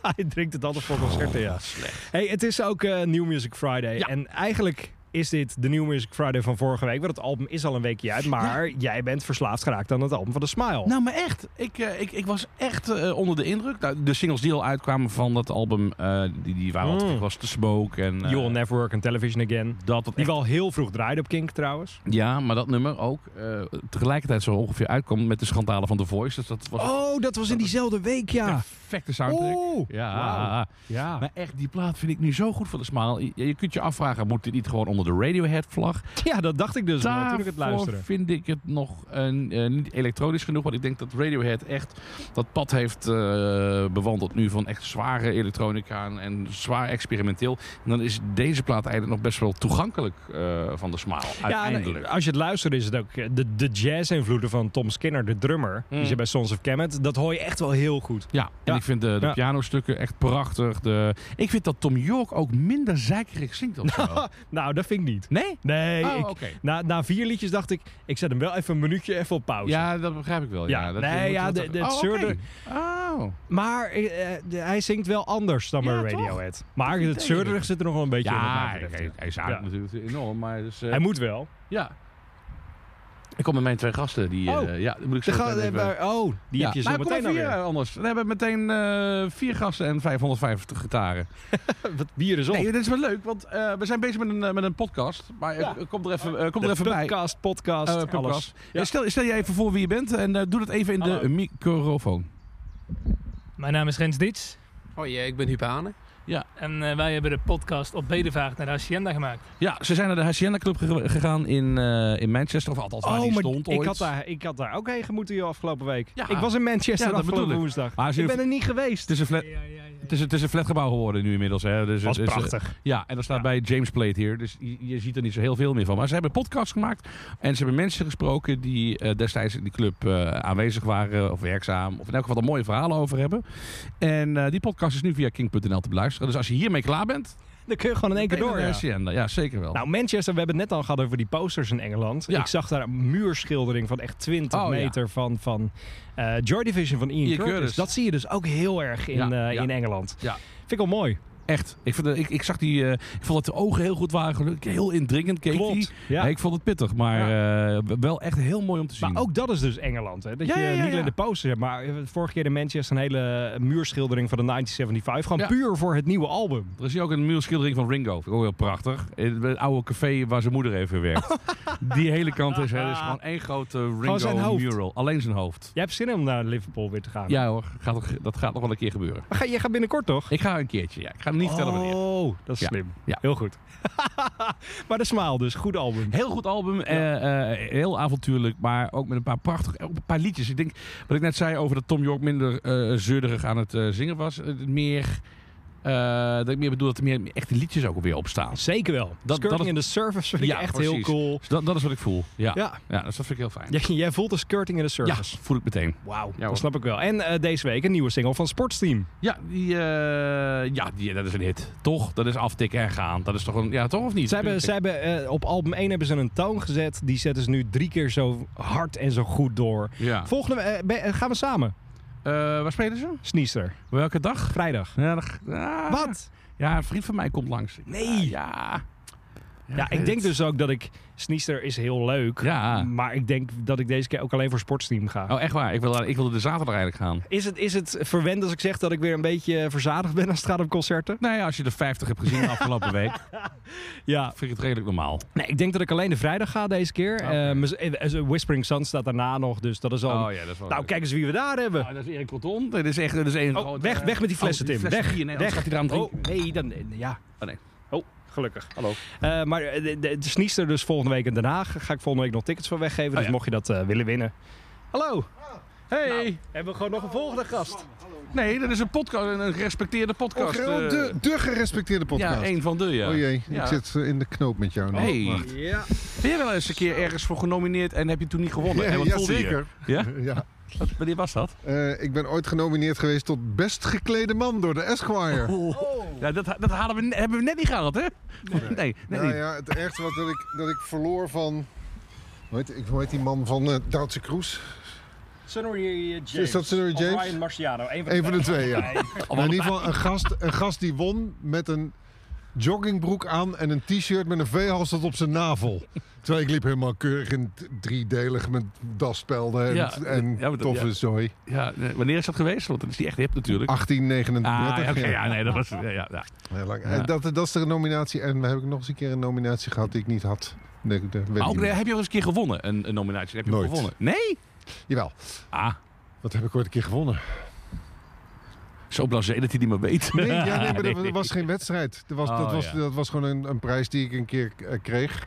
B: Hij drinkt het altijd voor concerten, ja.
E: Oh, Slecht.
B: Hey, het is ook eh, New Music Friday. En eigenlijk is dit de New Music Friday van vorige week? Want het album is al een weekje uit, maar jij bent verslaafd geraakt aan het album van de Smile.
E: Nou, maar echt. Ik, eh, ik, ik was echt eh, onder de indruk. Nou, de singles die al uitkwamen van dat album, eh, die, die waren al te
B: Mm.
E: gek, was The Smoke en... eh,
B: You'll Never Work on Television Again.
E: dat, dat
B: Die wel heel vroeg draaide op Kink trouwens.
E: Ja, maar dat nummer ook eh, tegelijkertijd zo ongeveer uitkwam met de schandalen van The Voice. Dus dat was
B: Oh, dat was in diezelfde week,
E: een
B: ja. Oh.
E: perfecte soundtrack.
B: Oeh,
E: ja.
B: wauw. Ja.
E: Maar echt, die plaat vind ik nu zo goed voor de smaal. Je, je kunt je afvragen, moet dit niet gewoon onder de Radiohead-vlag?
B: ja, dat dacht ik dus al toen ik het luisterde.
E: vind ik het nog eh, eh, niet elektronisch genoeg. Want ik denk dat Radiohead echt dat pad heeft eh, bewandeld nu van echt zware elektronica en, en zwaar experimenteel. En dan is deze plaat eigenlijk nog best wel toegankelijk eh, van de smaal,
B: Ja, en
E: uiteindelijk.
B: als je het luistert is het ook eh, de, de jazz-invloeden van Tom Skinner, de drummer. Die
E: Mm.
B: zit bij Sons of Kemet. Dat hoor je echt wel heel goed.
E: Ja, en
B: Ja.
E: ik vind de, de
B: Ja.
E: pianostukken echt prachtig. De, ik vind dat Tom York ook minder zeikerig zingt of zo.
B: Nou, dat vind ik niet.
E: Nee?
B: Nee,
E: Oh,
B: ik-
E: oké.
B: na, na vier liedjes dacht ik, ik zet hem wel even een minuutje even op pauze.
E: Ja, dat begrijp ik wel. Oh, Ja,
B: Ja,
E: Dat-
B: nee,
E: je moet
B: ja,
E: dat
B: de-
E: ook-
B: de-
E: oh,
B: het zeurde-
E: oké. Oh.
B: Maar eh, eh, de- hij zingt wel anders dan
E: Ja,
B: bij
E: toch?
B: Radiohead. Maar
E: vind
B: het
E: ik.
B: zeurderig zit er nog wel een beetje in. wat
E: Ja,
B: mij betreft.
E: hij, hij is aardig
B: Ja.
E: natuurlijk enorm, maar dus... eh,
B: Hij moet wel.
E: ja. Ik kom met mijn twee gasten, die... eh,
B: Oh.
E: ja, die moet ik zo
B: De ga-
E: meteen even...
B: eh, maar- oh, die
E: ja.
B: heb je zo
E: nou, kom
B: meteen
E: maar vier
B: alweer.
E: eh, anders. We hebben meteen eh, vier gasten en 550 gitaren.
B: Wat bier is op.
E: Nee, dit is wel leuk, want eh, we zijn bezig met een, eh, met een podcast. Maar eh,
B: Ja.
E: kom er even, eh, kom er
B: de
E: even bij.
B: podcast, podcast,
E: Eh, podcast.
B: alles.
E: Ja, Stel, stel jij even voor wie je bent en eh, doe dat even in de
B: Hallo.
E: microfoon.
G: Mijn naam is Rens Dietz
H: Hoi, eh, ik ben Huub Hane.
G: en eh, wij hebben de podcast op Bedevaart naar de Hacienda gemaakt.
E: Ja, ze zijn naar de Hacienda Club ge- gegaan in, eh, in Manchester. Of althans, waar die
B: Oh, maar
E: stond ooit.
B: ik had, daar, ik had daar ook heen gemoeten joh, afgelopen week.
E: Ja.
B: Ik was in Manchester
E: Ja, dat
B: afgelopen
E: bedoel ik.
B: woensdag.
E: Maar ze-
B: ik ben er niet geweest.
E: Het is, een flat, het, is, het is een flatgebouw geworden nu inmiddels. Hè. Dus,
B: was
E: het is, eh,
B: prachtig.
E: ja, en dat staat
B: Ja.
E: bij James Plate hier. Dus je, je ziet er niet zo heel veel meer van. Maar ze hebben podcasts gemaakt. En ze hebben mensen gesproken die eh, destijds in die club eh, aanwezig waren. Of werkzaam. Of in elk geval er mooie verhalen over hebben. En eh, die podcast is nu via king.nl te beluisteren. Dus als je hiermee klaar bent.
B: Dan kun je gewoon in één keer
E: ben je
B: door.
E: naar de
B: ja.
E: Hacienda. Ja, zeker wel.
B: Nou, Manchester, we hebben het net al gehad over die posters in Engeland.
E: Oh. Ja.
B: Ik zag daar een muurschildering van echt 20
E: Oh, ja.
B: meter van, van eh, Joy Division van Ian
E: Ian
B: Curtis.
E: Curtis.
B: Dat zie je dus ook heel erg in,
E: Ja,
B: eh,
E: ja.
B: in Engeland.
E: Ja.
B: Vind ik wel mooi.
E: Echt. Ik, vond, ik, ik zag die. eh, ik vond dat de ogen heel goed waren. gelukkig. Heel indringend keek die.
B: Klopt. Ja.
E: Ja. Ik vond het pittig, maar eh, wel echt heel mooi om te zien.
B: Maar ook dat is dus Engeland. Hè? Dat
E: Ja,
B: je
E: ja, ja,
B: niet
E: ja.
B: alleen de posters hebt, maar eh, vorige keer in Manchester een hele muurschildering van de 1975. Gewoon
E: Ja.
B: puur voor het nieuwe album.
E: Er is hier ook een muurschildering van Ringo. Vind ik ook heel prachtig. In het oude café waar zijn moeder heeft gewerkt. Die hele kant is, hè, is gewoon één grote
B: zijn
E: Ringo
B: hoofd.
E: mural. Alleen zijn hoofd.
B: Jij hebt zin om naar Liverpool weer te gaan.
E: Ja hoor, gaat, nog- dat gaat nog wel een keer gebeuren.
B: Maar ga, jij gaat binnenkort toch?
E: Ik ga een keertje, ja. Ik ga hem niet vertellen wanneer.
B: Oh, dat is
E: Ja.
B: slim.
E: Ja.
B: Heel goed. maar de Smaal dus, goed album.
E: Heel goed album, eh, eh, heel avontuurlijk, maar ook met een paar prachtige ook een paar liedjes. Ik denk, wat ik net zei over dat Tom York minder eh zeurderig aan het eh, zingen was. eh, meer, eh, dat ik meer bedoel dat er meer echte liedjes ook weer op staan.
B: Zeker wel.
E: dat
B: Skirting
E: is-
B: in the Surface vind ik
E: Ja,
B: echt heel
E: precies.
B: cool.
E: Dus dat, dat is wat ik voel. Ja, ja.
B: Ja,
E: dus dat vind ik heel fijn.
B: Jij, jij voelt de Skirting in the
E: Ja,
B: Surface.
E: voel ik meteen.
B: Wauw,
E: hoor.
B: dat snap ik wel. En eh, deze week een nieuwe single van Sportsteam.
E: Ja, die, eh, ja die, dat is een hit. Toch? Dat is aftikken en gaan. Dat is toch een... Ja, toch of niet?
B: Ze hebben, ze hebben, eh, op album 1 hebben ze een toon gezet. Die zetten ze nu drie keer zo hard en zo goed door.
E: Ja.
B: Volgende we- eh, ben- eh, gaan we samen.
E: Eh, waar spelen ze?
B: Sneester.
E: Welke dag?
B: Vrijdag.
E: Ja, dat- ah.
B: Wat?
E: Ja, een vriend van mij komt langs.
B: Nee.
E: Ja.
B: Ja, ik
E: weet
B: denk
E: het.
B: dus ook dat ik... Sneester is heel leuk.
E: Ja.
B: Maar ik denk dat ik deze keer ook alleen voor Sportsteam ga.
E: Oh, echt waar. Ik wilde, ik wilde de zaterdag eigenlijk gaan.
B: Is het, is het verwend als ik zeg dat ik weer een beetje verzadigd ben als het gaat om concerten?
E: Nou ja, als je de 50 hebt gezien de afgelopen week,
B: Ja.
E: vind ik het redelijk normaal.
B: Nee, ik denk dat ik alleen de vrijdag ga deze keer. Eh, mis- eh, eh, Whispering Sun staat daarna nog, dus dat is al...
E: Oh, ja, Ah, dat is wel Oh,
B: nou, kijk eens wie we daar hebben.
E: dat is Erik Coton. Dat is echt... Dat is een
B: Oh,
E: grote-
B: weg, weg met die flessen,
E: Oh, die
B: Tim.
E: flessen
B: weg,
E: hier, nee,
B: weg.
E: anders gaat hij eraan
B: oh, nee, dan... eh, Ja.
E: Oh, nee.
B: Oh, gelukkig.
E: Hallo.
B: Eh, maar eh, de, de, de Sneester dus volgende week in Den Haag. Ga ik volgende week nog tickets voor weggeven, dus
E: ja.
B: mocht je dat eh, willen winnen. Hallo.
E: Hey.
B: Hebben we gewoon nog een volgende gast?
E: Oh. Nee, dat is een podcast, een- een gerespecteerde podcast.
D: Oh,
E: eh,
D: de, de gerespecteerde podcast.
E: Ja, één van de, ja.
D: Oh jee,
E: Ja.
D: ik zit eh, in de knoop met jou. nu.
E: Hey.
D: Wacht.
B: Ja.
E: Ben je wel eens een keer ergens voor genomineerd en heb je toen niet gewonnen?
D: Ja,
E: en wat
D: ja,
E: voelde je?
D: zeker.
E: Ja?
D: Ja.
E: Wat- Wanneer was dat?
D: Eh, ik ben ooit genomineerd geweest tot best geklede man door de Esquire.
E: Oh, Ja, dat, dat halen we, ne- hebben we net niet gehad, hè? Nee, nee,
D: nou
E: niet.
D: ja, het ergste was dat ik, dat ik verloor van... Hoe heet, ik- hoe heet die man van eh Duitse Kroes?
B: Sunnery James.
D: Is dat Sunnery James?
B: Of Ryan Marciano. Een van de,
D: Eén van de twee, ja.
B: Nee.
D: Maar in ieder geval een gast, een gast die won met een joggingbroek aan en een t-shirt met een veehals tot op zijn navel. Terwijl ik liep helemaal keurig in t- driedelig met daspelden en,
E: Ja,
D: en
E: ja, maar dat-
D: toffe
E: ja.
D: zooi.
E: Ja, eh, wanneer is dat geweest? Want dat is die echt hip natuurlijk.
D: 1839.
E: Ah, ja, oké,
D: ja.
E: ja, nee, dat was... Ja, ja, ja.
D: Heel lang.
E: Ja.
D: En dat, eh, dat is de nominatie. En heb ik nog eens een keer een nominatie gehad die ik niet had. Nee, dat weet
E: Maar
D: ik
E: ook,
D: niet
E: eh,
D: meer.
E: heb je wel eens een keer gewonnen, een, een nominatie? Heb je hem
D: Nooit.
E: gewonnen? Nee?
D: Jawel.
E: Ah,
D: Wat heb ik ooit een keer gewonnen?
E: zo blasé dat hij die maar weet.
D: Nee, ja, nee, maar
E: Nee.
D: dat was geen wedstrijd. Er was,
E: Oh,
D: dat, was,
E: ja.
D: dat was gewoon een, een prijs die ik een keer eh, kreeg.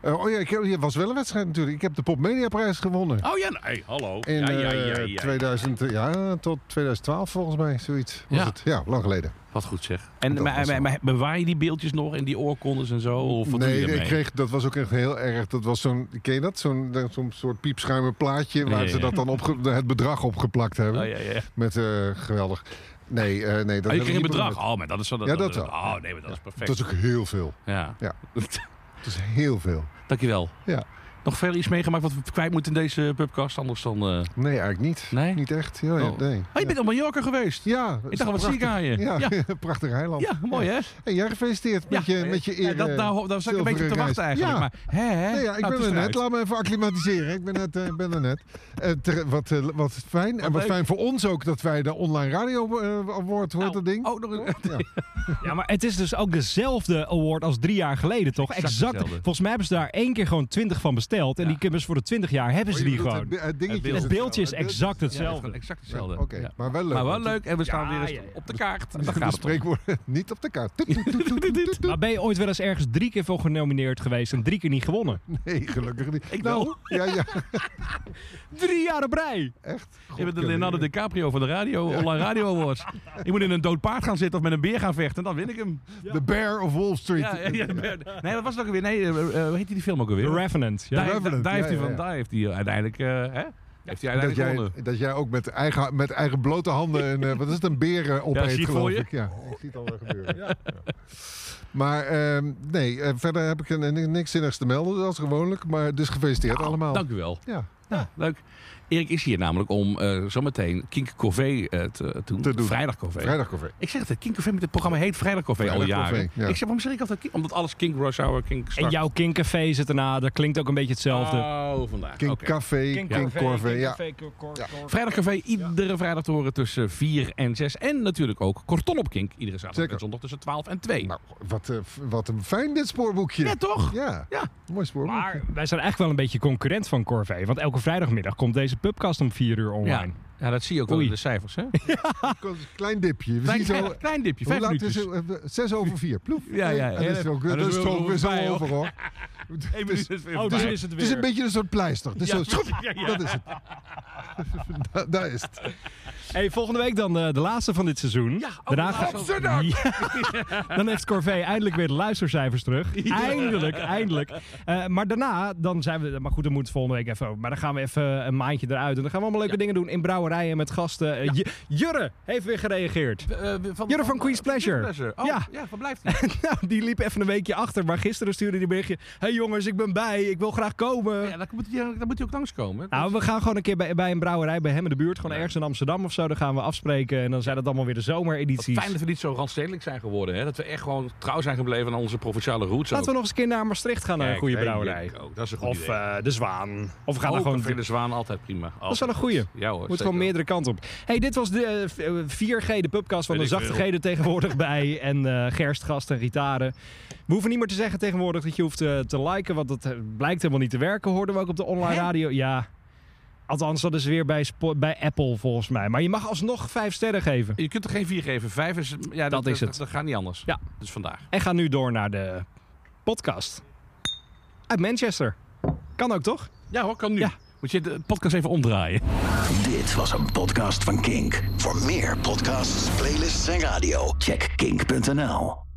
D: Eh, oh ja, ik heb, ja, was wel een wedstrijd natuurlijk. Ik heb de Pop Media prijs gewonnen.
E: Oh ja, nou, hey, hallo.
D: In
E: ja, ja,
D: eh,
E: ja, ja.
D: 2000, eh, ja, tot 2012 volgens mij, zoiets was
E: Ja.
D: het. Ja, lang geleden.
E: Wat goed zeg. En
D: Dat
E: maar,
D: was
E: maar-
D: wel.
E: maar bewaar je die beeldjes nog en die oorkondes en zo? Of wat doe
D: nee,
E: je
D: ik
E: ermee?
D: kreeg, dat was ook echt heel erg. Dat was zo'n, ken je dat? Zo'n eh, zo'n soort piepschuimer plaatje waar
E: Ja,
D: ze
E: ja.
D: dat dan opge- het bedrag opgeplakt hebben.
E: Oh, ja, ja.
D: Met, eh, geweldig. Nee, eh, nee. Dat
E: Oh, je
D: heb ik
E: kreeg een
D: niet
E: bedrag.
D: bedacht.
E: Oh, maar dat is wel...
D: Ja, dat wel.
E: Oh, nee, maar dat is perfect.
D: Dat is ook heel veel.
E: Ja.
D: Ja. Dat is heel veel.
E: Dankjewel.
D: Ja.
E: Nog verder iets meegemaakt wat we kwijt moeten in deze podcast? Anders dan... eh,
D: Nee, eigenlijk niet.
E: Nee?
D: Niet echt. Ja, ja,
E: Oh.
D: nee.
E: Oh, je bent op Mallorca geweest.
D: Ja,
E: Ik dacht, wat
D: prachtig.
E: zie ik aan je?
D: Ja,
E: ja.
D: prachtig heiland.
E: Ja, mooi hè?
D: Hey, jij gefeliciteerd met
E: ja.
D: je, met je
E: Ja,
D: eer. eh,
E: dat, nou, daar zat ik een beetje te wachten eigenlijk.
D: Ja.
E: Maar, hè, hè?
D: Nee, ja, ik
E: Nou, het
D: ben
E: is
D: er net.
E: eruit.
D: Laat me even acclimatiseren. Ik ben, net, eh, ik ben er net. Eh, ter- wat, eh, wat fijn. en wat
E: leuk.
D: fijn voor ons ook dat wij de online radio eh, award hoort dat ding.
E: Oh, nog een...
D: Ja.
B: Ja, maar het is dus ook dezelfde award als drie jaar geleden, toch?
E: Exact
B: Exact.
E: dezelfde.
B: Volgens mij hebben ze daar één keer gewoon twintig van besteld. En
E: Ja.
B: die kunnen ze voor de twintig jaar hebben ze
D: Oh, je
B: die
D: bedoelt
B: gewoon.
D: Het, be- het dingetje
E: beeld.
D: is
B: Het beeldje is
D: het- het-
B: exact hetzelfde.
E: Ja, exact hetzelfde.
D: Oké, maar wel leuk.
E: Maar wel
D: want
E: leuk en we staan
B: Ja,
E: weer eens
B: ja, ja.
E: op de kaart. En
D: De,
E: daar
D: de
E: gaat het om.
D: spreekwoorden niet op de kaart. Toet, toet, toet, toet, toet, toet.
B: Maar ben je ooit wel eens ergens drie keer voor genomineerd geweest en drie keer niet gewonnen?
D: Nee, gelukkig niet.
E: Ik
D: nou,
E: wel.
D: ja, ja,
B: Drie jaar op rij!
D: echt.
E: Je
D: God,
E: bent de
D: kunnen
E: Leonardo
D: jullie-
E: DiCaprio van de radio, online radio awards. Ik moet in een dood paard gaan zitten of met een beer gaan vechten, dan win ik hem.
D: The Bear of Wall Street.
E: Ja, ja, ja, nee, dat was het ook weer. Nee, eh, eh, hoe heet die film ook
B: The
E: alweer?
B: Revenant. Ja.
E: Daar, heeft-
D: Revenant,
E: daar heeft
D: ja,
E: hij
D: ja,
E: van,
D: ja.
E: daar heeft hij uiteindelijk, eh, hè? Heeft hij
D: Dat
E: uiteindelijk
D: jij,
E: gewonnen.
D: dat jij ook met eigen, met eigen blote handen een, eh, wat is het, een beren eh,
E: Ja,
D: opeet,
E: zie je voor
D: geloof
E: je?
D: ik. Ja, Oh, ik zie het al wel gebeuren. Ja. Maar ehm, nee, eh, verder heb ik een, een- niks zinnigs te melden, zoals gewoonlijk. Maar dus gefeliciteerd
E: Nou,
D: allemaal.
E: Dank u wel.
D: Ja.
E: Ja, leuk. Erik is hier namelijk om eh, zometeen Kink Corvée eh, te, te
D: Te doen.
E: Vrijdag Corvée.
D: Vrijdag koffie.
E: Ik zeg het, Kink Corvée, met het programma heet Vrijdag Corvée al
D: Vrijdag
E: jaren.
D: Corvée, ja.
E: Ik zeg, waarom zeg ik altijd Kink? Omdat alles Kink Rush Hour, Kink
B: En jouw kinkcafé zit erna, dat klinkt ook een beetje hetzelfde.
E: Oh, vandaag.
D: King
E: Oké.
D: Café, King, Corvée, ja.
E: Vrijdagcafé iedere vrijdag te horen tussen 4 en 6. En natuurlijk ook Korton op Kink iedere zaterdag
D: Zeker.
E: en zondag tussen 12 en 2.
D: Nou, wat, eh, f- wat een fijn dit spoorboekje.
E: ja, toch?
D: Ja,
E: Ja.
D: mooi spoorboek.
B: Maar wij zijn eigenlijk wel een beetje concurrent van Corvée. Want elke vrijdagmiddag komt deze pubcast om vier uur
E: Ja.
B: online.
E: ja, dat zie je ook wel
B: Oei.
E: in de cijfers. Hè?
D: Klein dipje. We
E: Klein,
D: zien zo, eh,
E: klein, klein dipje,
D: hoe
E: vijf
D: laat
E: minuutjes.
D: is het? Eh, Zes over vier. Ploef.
E: Ja, ja, ja.
D: En dat is ook, dat is ook weer
E: Bij,
D: zo
E: hoor.
D: over, hoor.
E: Eén minuut is weer
B: Oh, dus
E: voorbij.
B: is het
D: Het is een
B: weer.
D: beetje een soort pleister. Dus zo, schop, Dat is het. Da- daar is het.
B: Hey, volgende week dan eh, de laatste van dit seizoen.
E: Ja, oh,
B: Daarna
E: de
B: ga-
E: laatste.
B: Ja. Dan heeft Corvée eindelijk weer de luistercijfers terug. Eindelijk, eindelijk. Eh, maar daarna, dan zijn we... Maar goed, dan moet het volgende week even... over. Maar dan gaan we even een maandje eruit. En dan gaan we allemaal leuke dingen doen in brouwerijen met gasten. Eh, J- Jurre heeft weer gereageerd.
E: Eh,
B: Jurre van Queen's Pleasure.
E: Oh, ja.
B: Ja.
E: van blijft hij?
B: nou, die liep even een weekje achter. Maar gisteren stuurde hij een berichtje. hey jongens, ik ben bij. Ik wil graag komen.
E: Ja, dan moet hij, dan moet hij ook langskomen.
B: Nou, we gaan gewoon een keer bij, bij een brouwerij bij hem in de buurt. Gewoon
E: Ja.
B: ergens in Amsterdam of zo. Dan gaan we afspreken. En dan zijn dat allemaal weer de
E: Wat
B: zomeredities.
E: fijn dat we niet zo randstedelijk zijn geworden. Hè? Dat we echt gewoon trouw zijn gebleven aan onze provinciale roots.
B: Laten we
E: ook.
B: nog eens een keer naar Maastricht gaan, naar een
E: Kijk,
B: goede
E: hey,
B: brouwerij.
E: ik ook. Dat is een goed
B: Of
E: idee.
B: eh, de Zwaan. Of we gaan
E: Oh,
B: er gewoon...
E: ik vind de zwaan altijd prima.
B: Dat is wel een goeie.
E: Ja hoor,
B: Moet
E: zeker.
B: gewoon meerdere kanten op. hey, dit was de eh, v- eh, 4G, de pubcast van
E: Weet
B: de
E: ik
B: zachte
E: veel.
B: G'den tegenwoordig bij. En eh gerst, gast en gitaren. We hoeven niet meer te zeggen tegenwoordig dat je hoeft eh, te liken. Want dat eh, blijkt helemaal niet te werken, hoorden we ook op de online
E: Hè?
B: radio. Ja, althans dat is weer bij, Spo- bij Apple volgens mij. Maar je mag alsnog vijf sterren geven.
E: Je kunt er geen vier geven. Vijf is... Ja, dat,
B: Dat is het.
E: Dat, gaat niet anders.
B: Ja.
E: Dus vandaag.
B: En ga nu door naar de podcast. Uit Manchester. Kan ook toch?
E: Ja hoor, kan nu.
B: Ja.
E: Moet je de podcast even omdraaien.
A: Dit was een podcast van Kink. Voor meer podcasts, playlists en radio, check kink.nl.